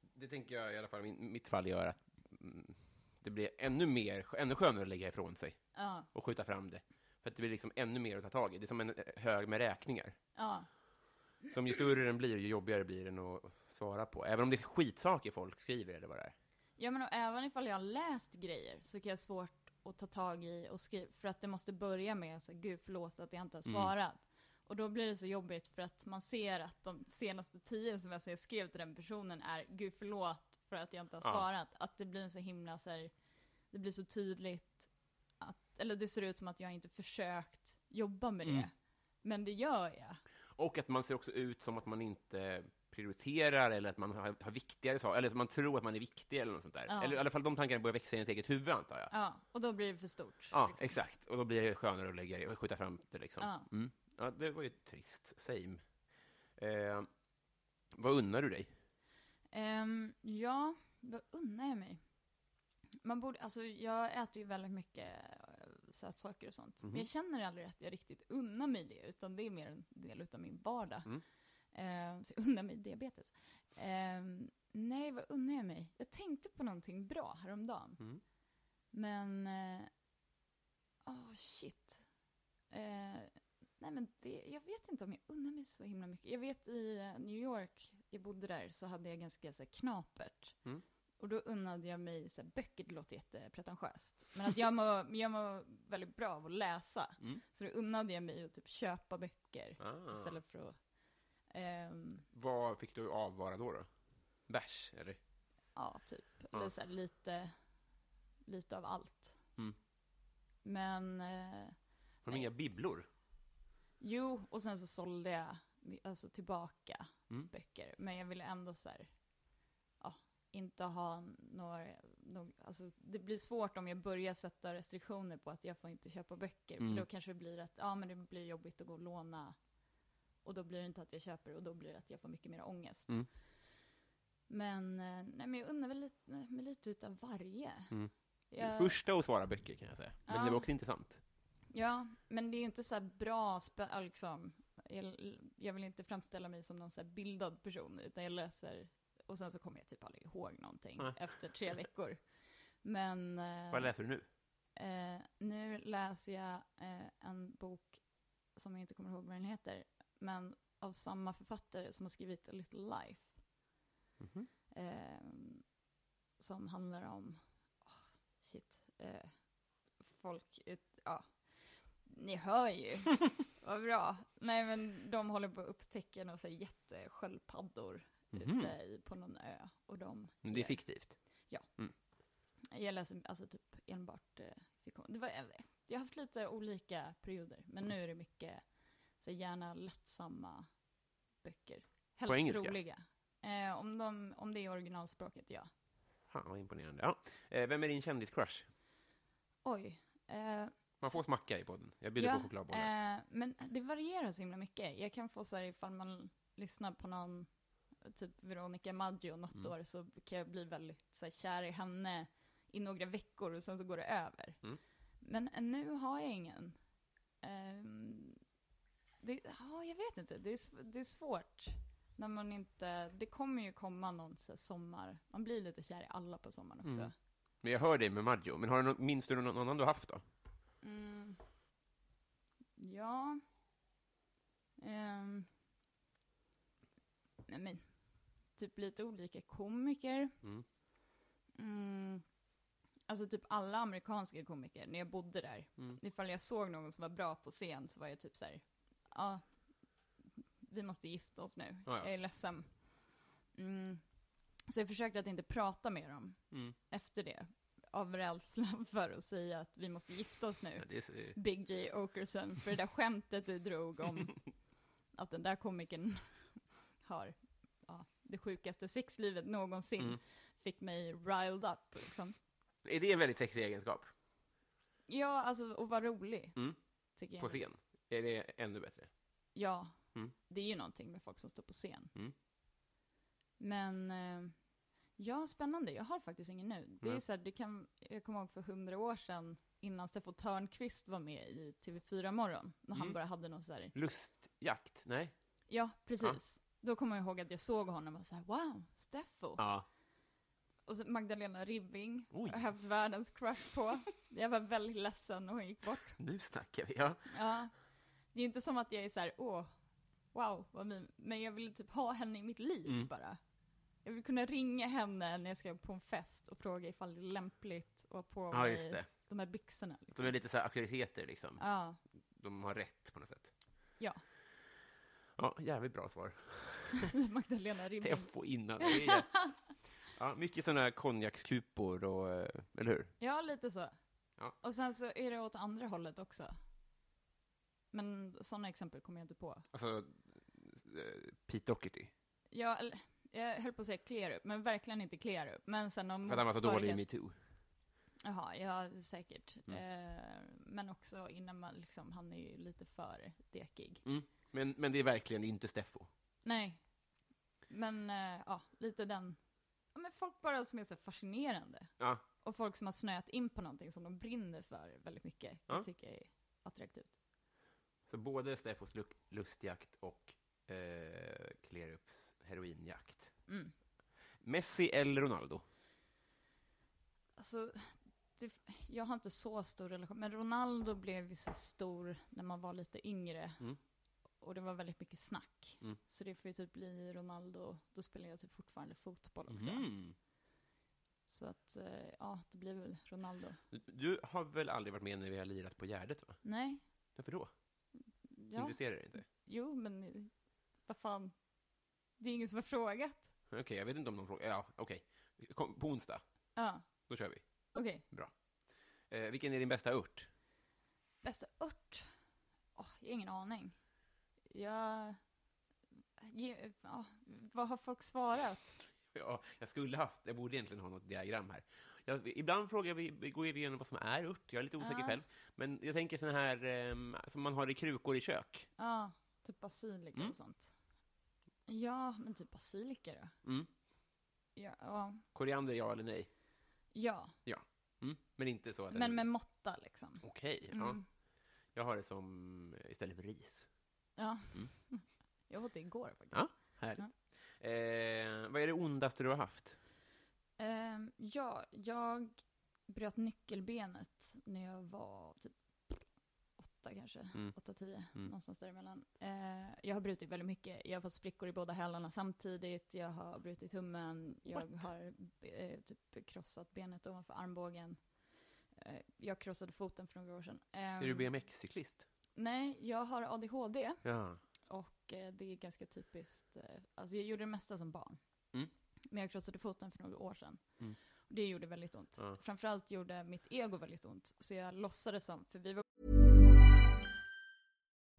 [SPEAKER 1] Det tänker jag i alla fall i min- mitt fall gör att mm, det blir ännu mer, ännu skönare att lägga ifrån sig
[SPEAKER 2] Ja.
[SPEAKER 1] och skjuta fram det. För att det blir liksom ännu mer att ta tag i. Det är som en eh, hög med räkningar.
[SPEAKER 2] Ja.
[SPEAKER 1] Som ju större den blir, ju jobbigare blir den att svara på. Även om det är skitsaker folk skriver eller vad det är.
[SPEAKER 2] Ja men och även ifall jag har läst grejer så kan jag ha svårt att ta tag i och skriva. För att det måste börja med så här, gud förlåt att jag inte har svarat. Och då blir det så jobbigt för att man ser att de senaste tio som jag skrev till den personen är gud förlåt för att jag inte har
[SPEAKER 1] Ja.
[SPEAKER 2] svarat. Att det blir en så himla så här, det blir så tydligt att, eller det ser ut som att jag inte försökt jobba med det. Men det gör jag.
[SPEAKER 1] Och att man ser också ut som att man inte prioriterar eller att man har, har viktigare saker, eller att man tror att man är viktig eller något sånt där. Eller i alla fall de tankarna börjar växa i ens eget huvud antar jag.
[SPEAKER 2] Ja, och då blir det för stort.
[SPEAKER 1] Ja, exakt. Och då blir det skönare att lägga och skjuta fram det liksom.
[SPEAKER 2] Ja.
[SPEAKER 1] Mm. ja, det var ju trist. Same. Eh, vad unnar du dig?
[SPEAKER 2] Ehm, ja, vad unnar jag mig? Man borde, alltså jag äter ju väldigt mycket eh, sötsaker och sånt. Men jag känner aldrig att jag riktigt unnar mig det, utan det är mer en del av min vardag. Ehm, så jag unnar mig diabetes. Ehm, nej, vad unnar jag mig? Jag tänkte på någonting bra häromdagen. Men, eh, oh shit. Eh, nej men det, jag vet inte om jag unnar mig så himla mycket. Jag vet i eh, New York, jag bodde där, så hade jag ganska så här, knapert.
[SPEAKER 1] Mm.
[SPEAKER 2] Och då unnade jag mig, så här, böcker det låter jättepretentiöst, men att jag mår, jag mår väldigt bra av att läsa.
[SPEAKER 1] Mm.
[SPEAKER 2] Så då unnade jag mig att typ köpa böcker
[SPEAKER 1] Ah.
[SPEAKER 2] istället för att... ehm,
[SPEAKER 1] Vad fick du avvara då? då? Bärs, eller?
[SPEAKER 2] Ja, typ.
[SPEAKER 1] Ja.
[SPEAKER 2] Eller så här, lite, lite av allt.
[SPEAKER 1] Mm.
[SPEAKER 2] Men, eh,
[SPEAKER 1] Har de inga bibblor?
[SPEAKER 2] jo, och sen så sålde jag mi- alltså, tillbaka
[SPEAKER 1] Mm.
[SPEAKER 2] böcker. Men jag ville ändå så här, ja, inte ha några, några alltså, det blir svårt om jag börjar sätta restriktioner på att jag får inte köpa böcker.
[SPEAKER 1] Mm.
[SPEAKER 2] För då kanske det blir att, ja men det blir jobbigt att gå och låna. Och då blir det inte att jag köper och då blir det att jag får mycket mer ångest.
[SPEAKER 1] Mm.
[SPEAKER 2] Men, eh, nej, men jag undrar väl lite, med lite utav varje.
[SPEAKER 1] Mm.
[SPEAKER 2] Jag-
[SPEAKER 1] Första att svara böcker kan jag säga. Men
[SPEAKER 2] Ja.
[SPEAKER 1] det var också intressant.
[SPEAKER 2] Ja, men det är inte så här bra, spe- äh, liksom. Jag, jag vill inte framställa mig som någon så här bildad person, utan jag läser och sen så kommer jag typ aldrig ihåg någonting
[SPEAKER 1] Nej.
[SPEAKER 2] efter tre veckor. Men eh,
[SPEAKER 1] Vad läser du nu?
[SPEAKER 2] eh, nu läser jag eh, en bok som jag inte kommer ihåg vad den heter, men av samma författare som har skrivit A Little Life
[SPEAKER 1] Mhm.
[SPEAKER 2] ehm, som handlar om, åh, shit, eh, folk, ut, ja, ni hör ju, vad bra. Nej men de håller på att upptäcka några så här jättesköldpaddor
[SPEAKER 1] Mhm.
[SPEAKER 2] ute i, på någon ö. Och de
[SPEAKER 1] Men Det är
[SPEAKER 2] gör-
[SPEAKER 1] fiktivt.
[SPEAKER 2] Jag läser alltså typ enbart eh, fiktion. Det var, jag har haft lite olika perioder, men nu är det mycket så här, gärna lättsamma böcker. Helst
[SPEAKER 1] På engelska?
[SPEAKER 2] roliga. Eh, om, de, om det är originalspråket, ja.
[SPEAKER 1] Fan vad imponerande. Ja. Eh, Vem är din kändiscrush?
[SPEAKER 2] Oj. Eh,
[SPEAKER 1] Man får smacka i podden. Jag bjuder
[SPEAKER 2] ja,
[SPEAKER 1] på chokladbollar.
[SPEAKER 2] Eh, men det varierar så himla mycket. Jag kan få så här ifall man lyssnar på någon, typ Veronica Maggio något
[SPEAKER 1] Mm.
[SPEAKER 2] år, så kan jag bli väldigt så här, kär i henne i några veckor och sen så går det över.
[SPEAKER 1] Mm.
[SPEAKER 2] Men eh, nu har jag ingen. Ehm, det, ja, jag vet inte, det är, sv- det är svårt. När man inte, det kommer ju komma någon så här, sommar, man blir lite kär i alla på sommaren också.
[SPEAKER 1] Mm. Men jag hör dig med Maggio. Men har du, nå- minns du någon annan du haft då?
[SPEAKER 2] Mm. Ja. Ehm. Nej men, typ lite olika komiker.
[SPEAKER 1] Mm.
[SPEAKER 2] Mm. Alltså typ alla amerikanska komiker, när jag bodde där.
[SPEAKER 1] Mm.
[SPEAKER 2] Ifall jag såg någon som var bra på scen så var jag typ så här, ja, vi måste gifta oss nu.
[SPEAKER 1] Ja, ja.
[SPEAKER 2] Jag är ledsen. Mm. Så jag försökte att inte prata med dem
[SPEAKER 1] Mm.
[SPEAKER 2] efter det. Av rädsla för att säga att vi måste gifta oss nu.
[SPEAKER 1] Ja, det är, eh,
[SPEAKER 2] Big J Okerson för det där skämtet du drog om att den där komikern har ja, det sjukaste sexlivet någonsin
[SPEAKER 1] Mm.
[SPEAKER 2] fick mig riled up. Liksom.
[SPEAKER 1] är det en väldigt sexig egenskap?
[SPEAKER 2] Ja, alltså och vara rolig.
[SPEAKER 1] Mm.
[SPEAKER 2] Tycker
[SPEAKER 1] På
[SPEAKER 2] jag.
[SPEAKER 1] scen? Är det ännu bättre?
[SPEAKER 2] Ja,
[SPEAKER 1] Mm.
[SPEAKER 2] det är ju någonting med folk som står på scen.
[SPEAKER 1] Mm.
[SPEAKER 2] Men eh, ja, spännande. Jag har faktiskt ingen nu. Det är
[SPEAKER 1] Nej.
[SPEAKER 2] så här, det kan, jag kommer ihåg för hundra år sedan innan Steffo Törnqvist var med i TV4 Morgon, när han
[SPEAKER 1] Mm.
[SPEAKER 2] bara hade någon så här
[SPEAKER 1] Lustjakt? Nej?
[SPEAKER 2] Ja, precis. Då kommer jag ihåg att jag såg honom och var så här, wow, Steffo.
[SPEAKER 1] Ja.
[SPEAKER 2] Och så Magdalena Ribbing
[SPEAKER 1] Oj.
[SPEAKER 2] har jag haft världens crush på. Jag var väldigt ledsen när hon gick bort.
[SPEAKER 1] Nu snackar vi. Ja.
[SPEAKER 2] Ja. Det är inte som att jag är så här, åh, wow, vad min. Men jag vill typ ha henne i mitt liv
[SPEAKER 1] Mm.
[SPEAKER 2] bara. Jag vill kunna ringa henne när jag ska på en fest och fråga ifall det är lämpligt att ha på
[SPEAKER 1] ja,
[SPEAKER 2] mig
[SPEAKER 1] just det.
[SPEAKER 2] de här byxorna. Liksom.
[SPEAKER 1] De är lite så här auktoriteter liksom.
[SPEAKER 2] Ja,
[SPEAKER 1] De har rätt på något sätt.
[SPEAKER 2] Ja.
[SPEAKER 1] Ja, jävligt bra svar.
[SPEAKER 2] Magdalena Ribbing.
[SPEAKER 1] Steffo innan. det är jä- Ja, mycket sådana här konjakskupor och, eh, eller hur?
[SPEAKER 2] Ja, lite så.
[SPEAKER 1] Ja.
[SPEAKER 2] Och sen så är det åt andra hållet också. Men sådana exempel kommer jag inte på.
[SPEAKER 1] Alltså, eh, Pete Doherty.
[SPEAKER 2] Jag, eller, jag höll på att säga clear up, men verkligen inte clear up. Men sen om
[SPEAKER 1] För att han var så dålig i
[SPEAKER 2] motsvarighet-
[SPEAKER 1] metoo.
[SPEAKER 2] Jaha, ja säkert.
[SPEAKER 1] Mm.
[SPEAKER 2] Eh, men också innan man liksom, han är ju lite för dekig.
[SPEAKER 1] Men, men det är verkligen inte Steffo.
[SPEAKER 2] Nej. Men eh, ja, lite den. Ja, men folk bara som är så fascinerande.
[SPEAKER 1] Ja.
[SPEAKER 2] Och folk som har snöat in på någonting som de brinner för väldigt mycket. Kan
[SPEAKER 1] Ja.
[SPEAKER 2] jag tycka är attraktivt.
[SPEAKER 1] Så både Steffos luk- lustjakt och eh, Klerups heroinjakt.
[SPEAKER 2] Mm.
[SPEAKER 1] Messi eller Ronaldo?
[SPEAKER 2] Alltså, det, jag har inte så stor relation, men Ronaldo blev ju så stor när man var lite yngre.
[SPEAKER 1] Mm.
[SPEAKER 2] Och det var väldigt mycket snack.
[SPEAKER 1] Mm.
[SPEAKER 2] Så det får ju typ bli Ronaldo, då spelar jag typ fortfarande fotboll också.
[SPEAKER 1] Mhm.
[SPEAKER 2] Så att, eh, ja, det blir väl Ronaldo.
[SPEAKER 1] Du- Du har väl aldrig varit med när vi har lirat på Gärdet, va?
[SPEAKER 2] Nej,
[SPEAKER 1] Varför då?
[SPEAKER 2] ja,
[SPEAKER 1] Intresserar det dig inte?
[SPEAKER 2] jo men eh, vad fan. Det är ingen som har frågat.
[SPEAKER 1] Okej, jag vet inte om någon frågar. Ja, okej. Kom, På onsdag,
[SPEAKER 2] Ja,
[SPEAKER 1] då kör vi.
[SPEAKER 2] okej.
[SPEAKER 1] Eh, vilken är din bästa ört?
[SPEAKER 2] Bästa ört? Åh, jag har ingen aning. Jag... Ge, ja, vad har folk svarat?
[SPEAKER 1] Ja, jag skulle haft, jag borde egentligen ha något diagram här. Jag, ibland frågar vi, vi går vi igenom vad som är ört, jag är lite osäker
[SPEAKER 2] Ja.
[SPEAKER 1] själv. Men jag tänker sådana här ehm, som man har i krukor i kök.
[SPEAKER 2] Ja, typ basilika
[SPEAKER 1] Mm.
[SPEAKER 2] och sånt. Ja, men typ basilika då?
[SPEAKER 1] Mm.
[SPEAKER 2] Ja, ja.
[SPEAKER 1] Koriander, ja eller nej?
[SPEAKER 2] ja.
[SPEAKER 1] Mm. Men inte så att... den-
[SPEAKER 2] men med måtta liksom.
[SPEAKER 1] Okej, ja.
[SPEAKER 2] Mm.
[SPEAKER 1] Jag har det som eh, istället för ris.
[SPEAKER 2] Ja.
[SPEAKER 1] Mm.
[SPEAKER 2] Jag åt det igår faktiskt.
[SPEAKER 1] Ja. Härligt. Eh, vad är det ondaste du har haft?
[SPEAKER 2] Ehm, ja, jag bröt nyckelbenet när jag var typ åtta kanske,
[SPEAKER 1] Mm.
[SPEAKER 2] åtta, tio,
[SPEAKER 1] Mm.
[SPEAKER 2] någonstans däremellan. Eh, jag har brutit väldigt mycket, jag har fått sprickor i båda hälarna samtidigt, jag har brutit tummen, jag har eh, typ krossat benet ovanför armbågen. Eh, jag krossade foten för några år sedan. Ehm,
[SPEAKER 1] Är du BMX-cyklist?
[SPEAKER 2] Nej, jag har ADHD.
[SPEAKER 1] Ja.
[SPEAKER 2] Och eh, det är ganska typiskt, eh, alltså jag gjorde det mesta som barn.
[SPEAKER 1] Mm.
[SPEAKER 2] Men jag krossade foten för några år sedan.
[SPEAKER 1] Mm.
[SPEAKER 2] Och det gjorde väldigt ont.
[SPEAKER 1] Ja.
[SPEAKER 2] Framförallt gjorde mitt ego väldigt ont. Så jag låtsades som, för vi var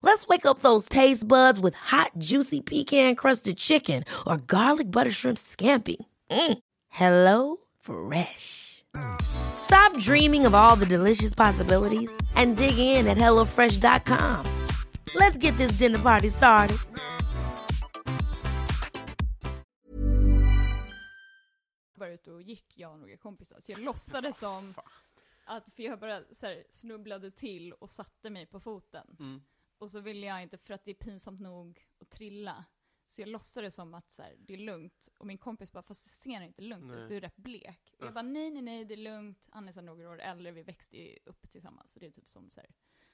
[SPEAKER 3] Let's wake up those taste buds with hot, juicy pecan crusted chicken or garlic butter shrimp scampi. Mm. Hello Fresh. Stop dreaming of all the delicious possibilities and dig in at HelloFresh.com. Let's get this dinner party started.
[SPEAKER 2] bara ute och gick, jag och några kompisar. Så jag låtsades som att, för jag bara så här, snubblade till och satte mig på foten.
[SPEAKER 1] Mm.
[SPEAKER 2] Och så ville jag inte, för att det är pinsamt nog att trilla. Så jag låtsades som att så här, det är lugnt. Och min kompis bara, fast det ser inte lugnt
[SPEAKER 1] Nej.
[SPEAKER 2] ut, du är rätt blek. Och jag bara, nej nej nej, det är lugnt. Han är så här några år äldre, vi växte ju upp tillsammans. Så det är typ som så här,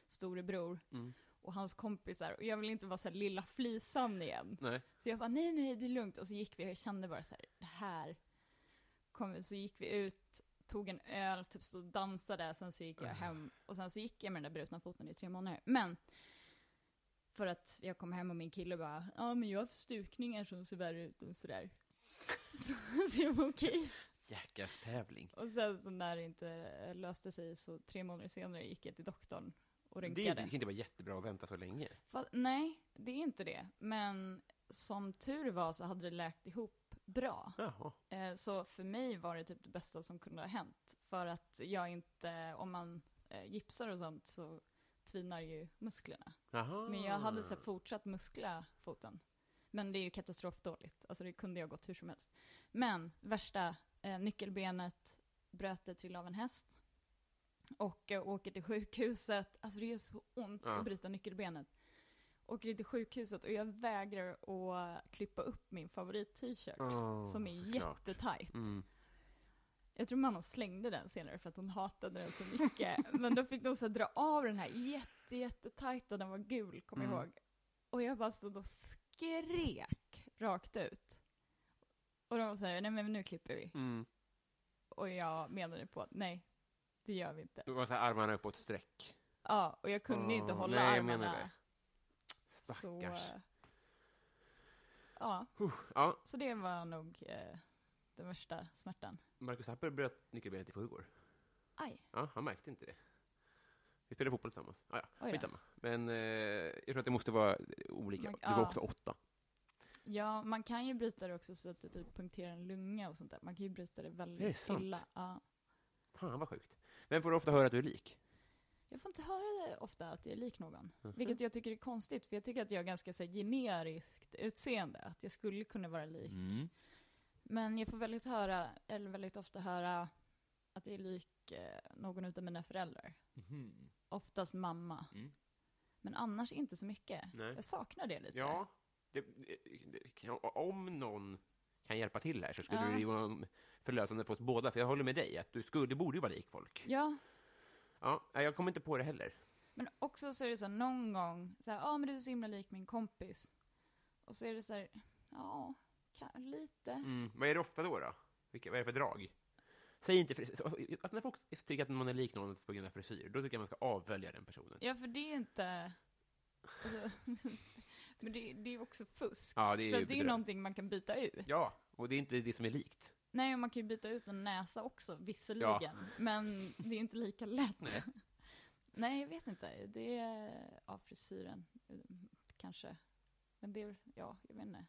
[SPEAKER 2] storebror.
[SPEAKER 1] Mm.
[SPEAKER 2] Och hans kompisar. Och jag vill inte vara så här lilla flisan igen.
[SPEAKER 1] Nej.
[SPEAKER 2] Så jag bara, nej nej, det är lugnt. Och så gick vi och jag kände bara så här, det här. Kom, så gick vi ut, tog en öl, typ så dansade, sen så gick jag hem. Och sen så gick jag med den där brutna foten i tre månader. Men, för att jag kom hem och min kille bara, ja men jag har haft stukningar som ser värre ut än sådär. så jag var okej.
[SPEAKER 1] Jäklas tävling.
[SPEAKER 2] Och sen så när det inte eh, löste sig så tre månader senare gick jag till doktorn och
[SPEAKER 1] Det,
[SPEAKER 2] röntgade.
[SPEAKER 1] det kan inte vara jättebra att vänta så länge.
[SPEAKER 2] Fa- nej, det är inte det. Men som tur var så hade det läkt ihop bra.
[SPEAKER 1] Jaha.
[SPEAKER 2] Eh, så för mig var det typ det bästa som kunde ha hänt. För att jag inte, om man eh, gipsar och sånt så tvinar ju musklerna.
[SPEAKER 1] Jaha.
[SPEAKER 2] Men jag hade så här fortsatt muskla foten. Men det är ju katastrofdåligt. Alltså det kunde jag gått hur som helst. Men värsta, eh, nyckelbenet, bröt det, trillade av en häst. Och eh, åker till sjukhuset. Alltså det gör så ont
[SPEAKER 1] Ja.
[SPEAKER 2] att bryta nyckelbenet. Åker till sjukhuset och jag vägrar att klippa upp min favorit-t-shirt.
[SPEAKER 1] Åh,
[SPEAKER 2] som är
[SPEAKER 1] Mm, såklart.
[SPEAKER 2] jättetajt.
[SPEAKER 1] Mm.
[SPEAKER 2] Jag tror mamma slängde den senare för att hon hatade den så mycket. Men då fick de så här dra av den här jätte, jättetajta, den var gul, kommer
[SPEAKER 1] Mm.
[SPEAKER 2] jag ihåg. Och jag bara stod och skrek rakt ut. Och de var så här, nej men nu klipper vi.
[SPEAKER 1] Mm.
[SPEAKER 2] Och jag menade på att nej, det gör vi inte.
[SPEAKER 1] Det var så här armarna uppåt streck.
[SPEAKER 2] Ja, och jag kunde inte
[SPEAKER 1] Åh,
[SPEAKER 2] hålla
[SPEAKER 1] Mm, nej, jag menar
[SPEAKER 2] armarna.
[SPEAKER 1] det.
[SPEAKER 2] Så,
[SPEAKER 1] Stackars.
[SPEAKER 2] ja,
[SPEAKER 1] Huh. Ja,
[SPEAKER 2] så det var nog eh, den värsta smärtan.
[SPEAKER 1] Marcus Tapper bröt nyckelbenet i förrgår.
[SPEAKER 2] Aj.
[SPEAKER 1] Ja, han märkte inte det. Vi spelade fotboll tillsammans. Ah,
[SPEAKER 2] Oj
[SPEAKER 1] ja,
[SPEAKER 2] då.
[SPEAKER 1] skitsamma. Men eh, jag tror att det måste vara olika.
[SPEAKER 2] Man-
[SPEAKER 1] Du var
[SPEAKER 2] ja.
[SPEAKER 1] också åtta.
[SPEAKER 2] Ja, man kan ju bryta det också så att det typ punkterar en lunga och sånt där. Man kan ju bryta det
[SPEAKER 1] Det är
[SPEAKER 2] väldigt
[SPEAKER 1] sant.
[SPEAKER 2] illa. Ja.
[SPEAKER 1] Fan vad sjukt. Vem får du ofta höra att du är lik?
[SPEAKER 2] Jag får inte höra det ofta att jag är lik någon.
[SPEAKER 1] Mhm.
[SPEAKER 2] Vilket jag tycker är konstigt, för jag tycker att jag har ganska så här, generiskt utseende. Att jag skulle kunna vara lik.
[SPEAKER 1] Mm.
[SPEAKER 2] Men jag får väldigt, höra, eller väldigt ofta höra att jag är lik eh, någon utav mina föräldrar.
[SPEAKER 1] Mhm.
[SPEAKER 2] Oftast mamma.
[SPEAKER 4] Mm.
[SPEAKER 2] Men annars inte så mycket.
[SPEAKER 1] Nej.
[SPEAKER 2] Jag saknar det lite.
[SPEAKER 1] Ja, det, det, kan- om någon kan hjälpa till här så skulle
[SPEAKER 2] Ja.
[SPEAKER 1] det ju vara förlösande för oss båda, för jag håller med dig att du skulle, du borde ju vara lik folk.
[SPEAKER 2] ja,
[SPEAKER 1] Ja, nej, jag kommer inte på det heller.
[SPEAKER 2] Men också så är det så här, någon gång, så här, ja ah, men du är så himla lik min kompis. Och så är det så här, ja, ka- lite.
[SPEAKER 1] Mm. Vad är det ofta då? då? Vilka, vad är det för drag? Säg inte fris- så- att när folk tycker att man är lik någon på grund av frisyr, då tycker jag man ska avvälja den personen.
[SPEAKER 2] Ja, för det är inte... Alltså, men det, det är ju också fusk.
[SPEAKER 1] Ja, det är ju
[SPEAKER 2] för att det är ju
[SPEAKER 1] bedrövligt.
[SPEAKER 2] någonting man kan byta ut.
[SPEAKER 1] Ja, och det är inte det som är likt.
[SPEAKER 2] Nej, och man kan ju byta ut en näsa också, visserligen. Men det är inte lika lätt. Nej. jag vet inte. Det är ja, frisyren, eh, kanske. Men det är, ja, jag vet inte.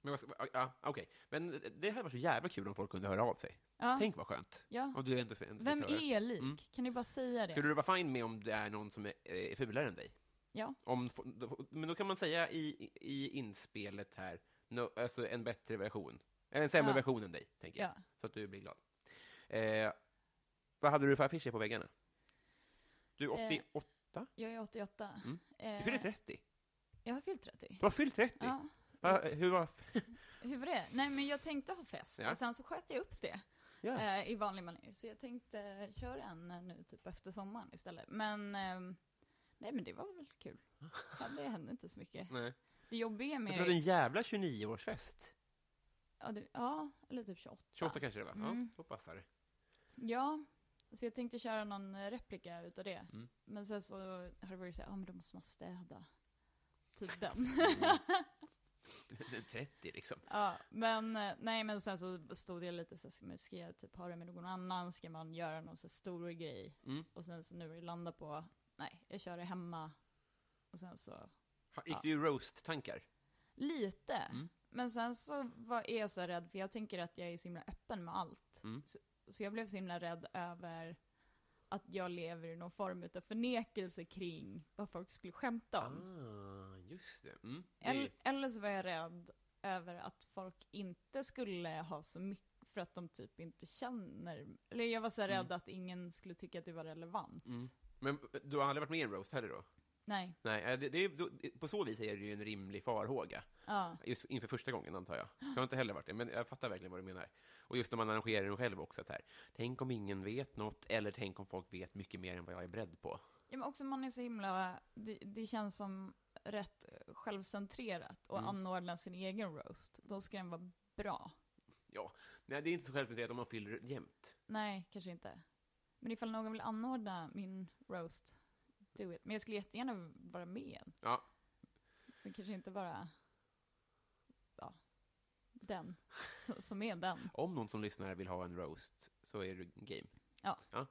[SPEAKER 1] Men vad ska- ja, okej. Men det hade varit så jävla kul om folk kunde höra av sig.
[SPEAKER 2] Ja,
[SPEAKER 1] Tänk vad skönt.
[SPEAKER 2] ja.
[SPEAKER 1] Om du ändå, ändå
[SPEAKER 2] Vem
[SPEAKER 1] förklarar.
[SPEAKER 2] är lik?
[SPEAKER 1] Mm.
[SPEAKER 2] Kan ni bara säga det?
[SPEAKER 1] Skulle du vara fin med om det är någon som är eh, fulare än dig?
[SPEAKER 2] Ja.
[SPEAKER 1] Om, då- men då kan man säga i, i inspelet här, no, alltså en bättre version. Eller en sämre
[SPEAKER 2] Ja.
[SPEAKER 1] version än dig, tänker jag.
[SPEAKER 2] Ja.
[SPEAKER 1] Så att du blir glad. Eh, vad hade du för affischer på väggarna? Du, 88?
[SPEAKER 2] Jag är 88.
[SPEAKER 1] Mm.
[SPEAKER 2] Eh,
[SPEAKER 1] Du fyllde 30.
[SPEAKER 2] Jag har fyllt 30.
[SPEAKER 1] Du har fyllt 30!
[SPEAKER 2] Ja,
[SPEAKER 1] Va, hur var...
[SPEAKER 2] hur var det? Nej, men jag tänkte ha fest
[SPEAKER 1] Ja.
[SPEAKER 2] och sen så sköt jag upp det
[SPEAKER 1] Ja.
[SPEAKER 2] eh, i vanlig manér. Så jag tänkte eh, köra en eh, nu typ efter sommaren istället. Men, ehm, nej men det var väl kul. Ja, det hände inte så mycket.
[SPEAKER 1] Nej.
[SPEAKER 2] Det jobbiga
[SPEAKER 1] Jag
[SPEAKER 2] med
[SPEAKER 1] tror att det är en jävla 29-årsfest.
[SPEAKER 2] ja, det, ja, eller typ 28.
[SPEAKER 1] 28 kanske det var? Ja,
[SPEAKER 2] Mm.
[SPEAKER 1] då passar det.
[SPEAKER 2] Ja, så jag tänkte köra någon eh, replika utav det.
[SPEAKER 1] Mm.
[SPEAKER 2] Men sen så har det varit så här, ja men då måste man städa. Typ den.
[SPEAKER 1] Det är 30 liksom.
[SPEAKER 2] Ja, men eh, nej men sen så stod jag lite så här, ska man- ska jag typ ha det med någon annan, ska man göra någon så här stor grej?
[SPEAKER 1] Mm.
[SPEAKER 2] Och sen så nu har det landat på, nej, jag kör det hemma. Och sen så,
[SPEAKER 1] Ha- Gick du i roast-tankar?
[SPEAKER 2] lite.
[SPEAKER 1] Mm.
[SPEAKER 2] Men sen så var, är jag så här rädd, för jag tänker att jag är så himla öppen med allt.
[SPEAKER 1] Mm.
[SPEAKER 2] Så, så jag blev så himla rädd över att jag lever i någon form av förnekelse kring vad folk skulle skämta om.
[SPEAKER 1] Ah, just det. Mm. det är ju-
[SPEAKER 2] Eller, eller så var jag rädd över att folk inte skulle ha så mycket för att de typ inte känner, eller jag var så här rädd att ingen skulle tycka att det var relevant.
[SPEAKER 1] Mm. Men du har aldrig varit med i en roast heller då?
[SPEAKER 2] Nej,
[SPEAKER 1] Nej, eh, det, det, är- då- det, på så vis är det ju en rimlig farhåga.
[SPEAKER 2] ja.
[SPEAKER 1] Just inför första gången, antar jag. Jag har inte heller varit det, men jag fattar verkligen vad du menar. Och just när man arrangerar den själv också, att här, tänk om ingen vet något, eller tänk om folk vet mycket mer än vad jag är beredd på.
[SPEAKER 2] ja men också man är så himla, det, det känns som rätt självcentrerat och
[SPEAKER 1] Mm.
[SPEAKER 2] anordna sin egen roast. Då ska den vara bra.
[SPEAKER 1] Nej, det är inte så självcentrerat om man fyller jämt.
[SPEAKER 2] Nej, kanske inte. Men ifall någon vill anordna min roast, do it. Men jag skulle jättegärna vara med igen.
[SPEAKER 1] Ja.
[SPEAKER 2] Men kanske inte bara, ja, den s- som är den.
[SPEAKER 1] Om någon som lyssnar vill ha en roast, så är det game.
[SPEAKER 2] Ja.
[SPEAKER 1] Eh,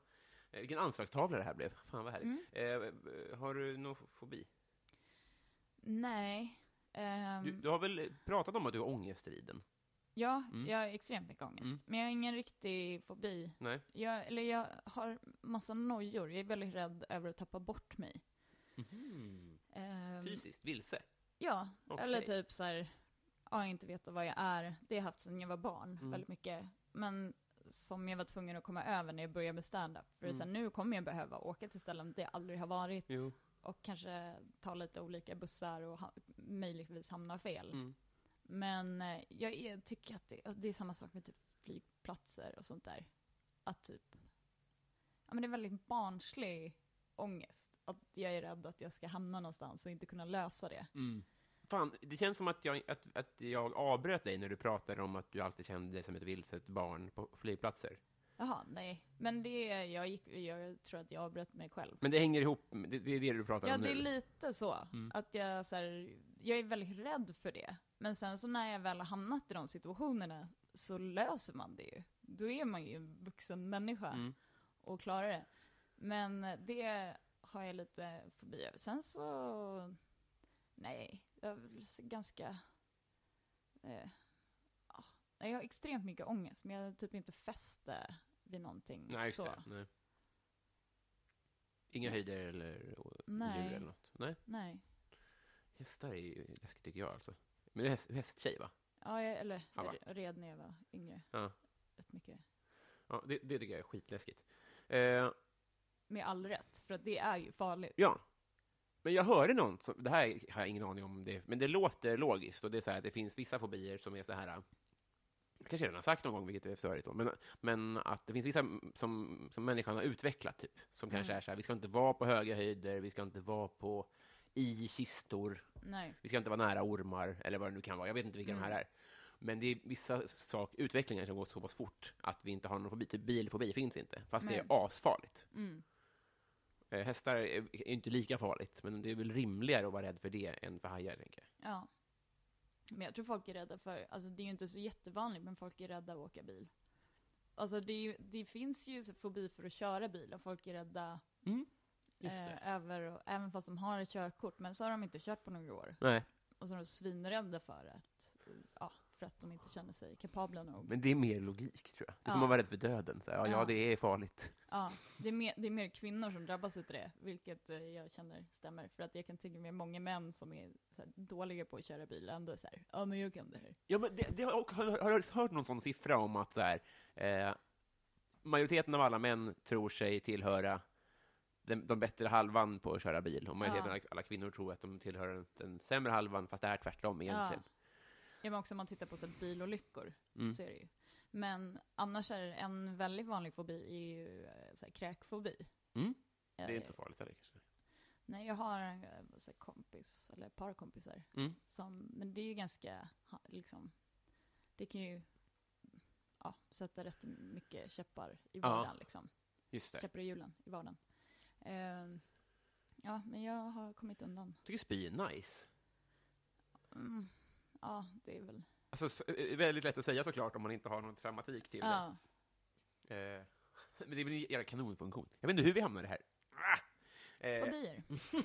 [SPEAKER 1] Vilken anslagstavla det här blev. Fan vad härligt.
[SPEAKER 2] Mm.
[SPEAKER 1] Eh, har du någon fobi?
[SPEAKER 2] Nej. ehm,
[SPEAKER 1] Du, du har väl pratat om att du har ångest i riden?
[SPEAKER 2] ja,
[SPEAKER 1] Mm.
[SPEAKER 2] jag har extremt mycket ångest.
[SPEAKER 1] Mm.
[SPEAKER 2] Men jag har ingen riktig fobi.
[SPEAKER 1] Nej.
[SPEAKER 2] Jag, eller jag har massa nojor. Jag är väldigt rädd över att tappa bort mig. Ehm,
[SPEAKER 1] Mm. Fysiskt vilse?
[SPEAKER 2] Ja,
[SPEAKER 1] Okej.
[SPEAKER 2] eller typ så här, ja, inte veta vad jag är. Det har jag haft sedan jag var barn,
[SPEAKER 1] Mm.
[SPEAKER 2] väldigt mycket. Men som jag var tvungen att komma över när jag började med stand-up. För mm. nu kommer jag behöva åka till ställen där jag aldrig har varit.
[SPEAKER 1] Jo.
[SPEAKER 2] Och kanske ta lite olika bussar och ha, möjligtvis hamna fel.
[SPEAKER 1] Mm.
[SPEAKER 2] Men eh, jag är, tycker att det, och det är samma sak med typ flygplatser och sånt där. Att typ, ja men det är väldigt barnslig ångest. Att jag är rädd att jag ska hamna någonstans och inte kunna lösa det.
[SPEAKER 1] Fan, det känns som att jag, att, att jag avbröt dig när du pratade om att du alltid kände dig som ett vilset barn på flygplatser.
[SPEAKER 2] Jaha, nej. Men det, är- jag, gick, jag tror att jag avbröt mig själv.
[SPEAKER 1] Men det hänger ihop, med- det, det är det du Mm. pratar
[SPEAKER 2] Ja,
[SPEAKER 1] om nu?
[SPEAKER 2] det är lite så. Att jag, så här, jag är väldigt rädd för det. Men sen så när jag väl har hamnat i de situationerna så löser man det ju.
[SPEAKER 1] Mm.
[SPEAKER 2] Då är man ju en vuxen människa och klarar det. Men det har jag lite fobi över. Sen så, nej, jag är väl så ganska, eh, ja. Nej, jag har extremt mycket ångest, men jag typ inte fäste vid någonting.
[SPEAKER 1] Nej, just
[SPEAKER 2] så. Mm.
[SPEAKER 1] det. Nej. Inga höjder eller och,
[SPEAKER 2] Nej.
[SPEAKER 1] djur eller något? Nej.
[SPEAKER 2] Nej.
[SPEAKER 1] Hästar är ju läskigt tycker jag alltså. Men du är häst, hästtjej va?
[SPEAKER 2] Ja, jag, eller
[SPEAKER 1] Har
[SPEAKER 2] jag
[SPEAKER 1] varit.
[SPEAKER 2] red när jag var yngre.
[SPEAKER 1] Ja.
[SPEAKER 2] Rätt mycket.
[SPEAKER 1] Ja, det, det tycker jag är skitläskigt. Eh,
[SPEAKER 2] Med all rätt, för att det är ju farligt.
[SPEAKER 1] ja. Men jag hörde någon, som, det här har jag ingen aning om, det, men det låter logiskt och det är så här att det finns vissa fobier som är så här, eh, jag kanske redan har sagt någon gång, vilket är störigt då, men, men att det finns vissa m- som, som människan har utvecklat, typ, som kanske är så här, vi ska inte vara på höga höjder, vi ska inte vara på i kistor,
[SPEAKER 2] Nej.
[SPEAKER 1] Vi ska inte vara nära ormar eller vad det nu kan vara. Jag vet inte vilka de här är. Men det är vissa sak, utvecklingar som går så pass fort att vi inte har någon fobi. Typ bilfobi finns inte, fast det
[SPEAKER 2] Nej.
[SPEAKER 1] är asfarligt.
[SPEAKER 2] Mm.
[SPEAKER 1] Eh, hästar är är inte lika farligt, men det är väl rimligare att vara rädd för det än för hajar, tänker jag.
[SPEAKER 2] Ja. Men jag tror folk är rädda för, alltså det är ju inte så jättevanligt, men folk är rädda att åka bil. Alltså det, är ju, det finns ju så fobi för att köra bil och folk är rädda
[SPEAKER 1] Mm.
[SPEAKER 2] eh, över, och, även fast de har ett körkort, men så har de inte kört på några år.
[SPEAKER 1] Nej,
[SPEAKER 2] Och så är de svinrädda för att, ja, för att de inte känner sig kapabla nog.
[SPEAKER 1] men det är mer logik, tror jag. Det är som
[SPEAKER 2] Ja.
[SPEAKER 1] att vara rädd för döden. Så här, ja, ja,
[SPEAKER 2] Ja.
[SPEAKER 1] det är farligt.
[SPEAKER 2] Ja, det är, mer, det är mer kvinnor som drabbas utav det, vilket eh, jag känner stämmer. För att jag kan tänka mig många män som är så här, dåliga på att köra bil, ändå så här, ja men jag kan det här.
[SPEAKER 1] Ja, men det, det har, jag- har, har jag liksom hört någon sån siffra om att så här, eh, majoriteten av alla män tror sig tillhöra den, de bättre halvan på att köra bil, och majoriteten
[SPEAKER 2] Ja.
[SPEAKER 1] av alla kvinnor tror att de tillhör den, den sämre halvan, fast det är tvärtom egentligen. Mm.
[SPEAKER 2] Ja, men också om man tittar på så här, bilolyckor, så är det ju. Men annars är det en väldigt vanlig fobi är ju eh, så här, kräkfobi.
[SPEAKER 1] Mm.
[SPEAKER 2] Eh,
[SPEAKER 1] Det är inte så farligt heller kanske.
[SPEAKER 2] Nej, jag har en eh, så här, kompis, eller ett par kompisar,
[SPEAKER 1] Mm.
[SPEAKER 2] som, men det är ju ganska, ha- liksom, det kan ju ja, sätta rätt mycket käppar i
[SPEAKER 1] Ja.
[SPEAKER 2] vardagen liksom.
[SPEAKER 1] Just det. Jag
[SPEAKER 2] käppar i hjulen i vardagen. Ehm, ja, men jag har kommit undan.
[SPEAKER 1] tycker spy är nice.
[SPEAKER 2] Mm. Ja, det är väl...
[SPEAKER 1] Alltså, s- eh, väldigt lätt att säga såklart om man inte har någon dramatik till det.
[SPEAKER 2] Ja,
[SPEAKER 1] Eh, men det är väl en jävla kanonfunktion. Jag vet inte hur vi hamnade här. Ah! Eh,
[SPEAKER 2] fobier.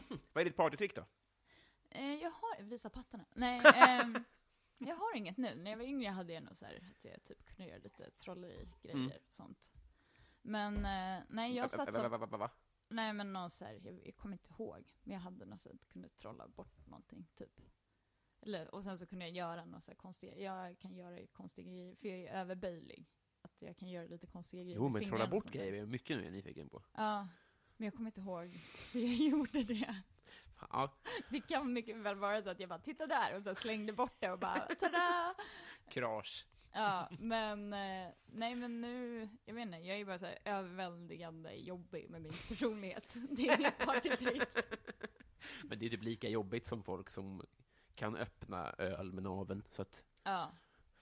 [SPEAKER 1] vad är ditt partytrick då?
[SPEAKER 2] Eh, jag har... Visa pattarna. Nej, ehm, jag har inget nu. När jag var yngre hade jag nog så här att jag typ kunde göra lite trollerigrejer
[SPEAKER 1] Mm.
[SPEAKER 2] och sånt. Men eh, nej, jag
[SPEAKER 1] Äh, Va,
[SPEAKER 2] satsade...
[SPEAKER 1] va, va, va, va?
[SPEAKER 2] Nej, men någon så här, jag, jag kommer inte ihåg. Men jag hade något så att kunde trolla bort någonting, typ. Eller, och sen så kunde jag göra något så här konstigt. Jag kan göra konstiga grejer, för jag är överböjlig. Att jag kan göra lite konstiga grejer
[SPEAKER 1] Jo,
[SPEAKER 2] med
[SPEAKER 1] men trolla
[SPEAKER 2] fingrarna och
[SPEAKER 1] bort
[SPEAKER 2] sånt där.
[SPEAKER 1] grejer är mycket nu jag är nyfiken på.
[SPEAKER 2] Ja, men jag kommer inte ihåg hur jag gjorde det.
[SPEAKER 1] Fan, Ja,
[SPEAKER 2] Det kan mycket väl vara så att jag bara, titta där, och sen slängde bort det och bara, tada!
[SPEAKER 1] krasch.
[SPEAKER 2] Ja, men eh, nej men nu, jag vet inte, jag är bara så här överväldigande jobbig med min personlighet. Det är mitt partytrick.
[SPEAKER 1] Men det är typ lika jobbigt som folk som kan öppna öl med naveln, så att
[SPEAKER 2] Ja.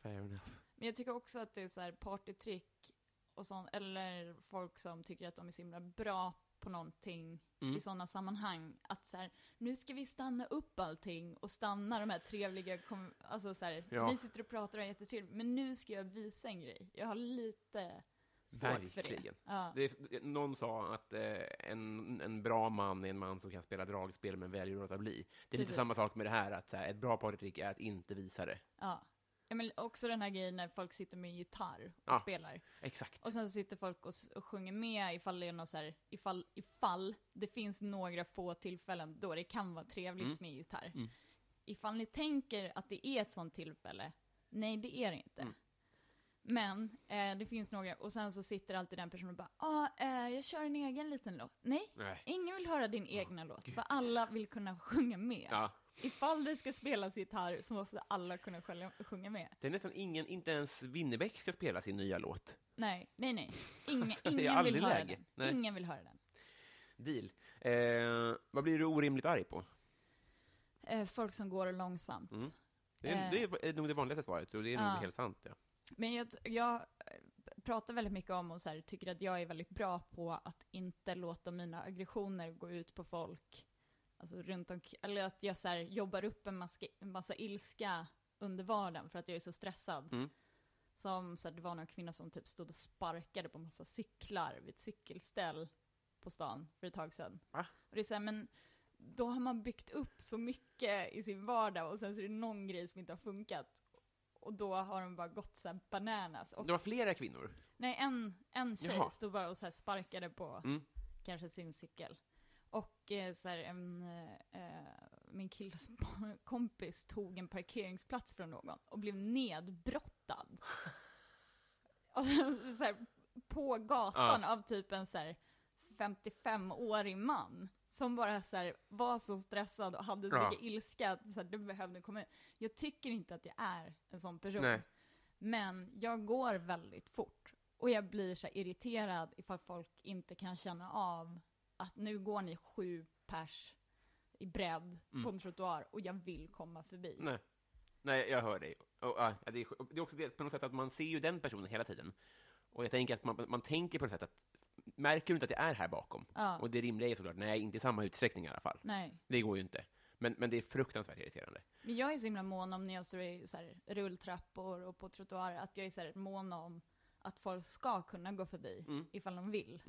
[SPEAKER 1] fair enough.
[SPEAKER 2] Men jag tycker också att det är så här partytrick och sånt, eller folk som tycker att de är så himla bra på någonting
[SPEAKER 1] Mm.
[SPEAKER 2] i sådana sammanhang. Att så här, nu ska vi stanna upp allting och stanna de här trevliga, kom- alltså så här,
[SPEAKER 1] Ja.
[SPEAKER 2] ni sitter och pratar och har jättetrevligt, men nu ska jag visa en grej. Jag har lite svårt för det.
[SPEAKER 1] Verkligen.
[SPEAKER 2] Ja.
[SPEAKER 1] Det är, någon sa att eh, en, en bra man är en man som kan spela dragspel men väljer att låta bli. Det är lite
[SPEAKER 2] Precis.
[SPEAKER 1] samma sak med det här, att så här, ett bra partytrick är att inte visa det.
[SPEAKER 2] Ja. Ja, men också den här grejen när folk sitter med gitarr och
[SPEAKER 1] Ja.
[SPEAKER 2] spelar.
[SPEAKER 1] Exakt.
[SPEAKER 2] Och sen så sitter folk och, s- och sjunger med ifall det är någon så här, ifall, ifall det finns några få tillfällen då det kan vara trevligt
[SPEAKER 1] Mm.
[SPEAKER 2] med gitarr. Ifall ni tänker att det är ett sånt tillfälle, nej det är det inte.
[SPEAKER 1] Mm.
[SPEAKER 2] Men eh, det finns några, och sen så sitter alltid den personen och bara ah, eh, jag kör en egen liten låt. Nej,
[SPEAKER 1] Nej.
[SPEAKER 2] ingen vill höra din egna låt, för alla vill kunna sjunga med.
[SPEAKER 1] Ja.
[SPEAKER 2] Ifall det ska spelas gitarr så måste alla kunna själva sjunga med.
[SPEAKER 1] Det är nästan ingen, inte ens Winnerbäck ska spela sin nya låt.
[SPEAKER 2] Nej, nej, nej. Ingen,
[SPEAKER 1] Alltså, det är
[SPEAKER 2] ingen, vill
[SPEAKER 1] aldrig
[SPEAKER 2] höra
[SPEAKER 1] läge.
[SPEAKER 2] den.
[SPEAKER 1] Nej.
[SPEAKER 2] ingen vill höra den.
[SPEAKER 1] Deal. Eh, vad blir du orimligt arg på?
[SPEAKER 2] Eh, folk som går långsamt.
[SPEAKER 1] Mm. Det är, det är nog det vanligaste svaret, och det är
[SPEAKER 2] Eh. Ja.
[SPEAKER 1] nog helt sant. Ja.
[SPEAKER 2] Men jag, t- jag eh, pratar väldigt mycket om och så här, tycker att jag är väldigt bra på att inte låta mina aggressioner gå ut på folk. Alltså runt om, eller att jag så här, jobbar upp en massa, en massa ilska under vardagen för att jag är så stressad.
[SPEAKER 1] Mm.
[SPEAKER 2] Som så här, det var någon kvinna som typ stod och sparkade på massa cyklar vid ett cykelställ på på stan för ett tag sedan.
[SPEAKER 1] Va?
[SPEAKER 2] Och det är så här, men då har man byggt upp så mycket i sin vardag och sen så är det någon grej som inte har funkat. Och då har de bara gått så här bananas. Och,
[SPEAKER 1] Det var flera kvinnor.
[SPEAKER 2] Nej, en, en tjej
[SPEAKER 1] Jaha.
[SPEAKER 2] stod bara och så här sparkade på
[SPEAKER 1] Mm.
[SPEAKER 2] kanske sin cykel. Och eh, så här, en, eh, eh, min killes kompis tog en parkeringsplats från någon och blev nedbrottad. och sen så här, på gatan av typ en så här 55-årig man. Som bara så här, var så stressad och hade så
[SPEAKER 1] Ja.
[SPEAKER 2] mycket ilska att så här, det behövde komma ut. Jag tycker inte att jag är en sån person.
[SPEAKER 1] Nej.
[SPEAKER 2] Men jag går väldigt fort. Och jag blir så här irriterad ifall folk inte kan känna av att nu går ni sju pers i bredd på en trottoar och jag vill komma förbi.
[SPEAKER 1] Mm. Nej. Nej, jag hör dig. Och, ja, det, är, sk- och det är också det, på något sätt att man ser ju den personen hela tiden. Och jag tänker att man, man tänker på något sätt att märker du inte att jag är här bakom?
[SPEAKER 2] Ja.
[SPEAKER 1] Och det rimliga är såklart, nej, inte i samma utsträckning i alla fall.
[SPEAKER 2] Nej.
[SPEAKER 1] Det går ju inte. Men, men det är fruktansvärt irriterande.
[SPEAKER 2] Men jag är så himla mån om när jag står i så här rulltrappor och på trottoarer att jag är så här mån om att folk ska kunna gå förbi
[SPEAKER 1] Mm.
[SPEAKER 2] ifall de vill.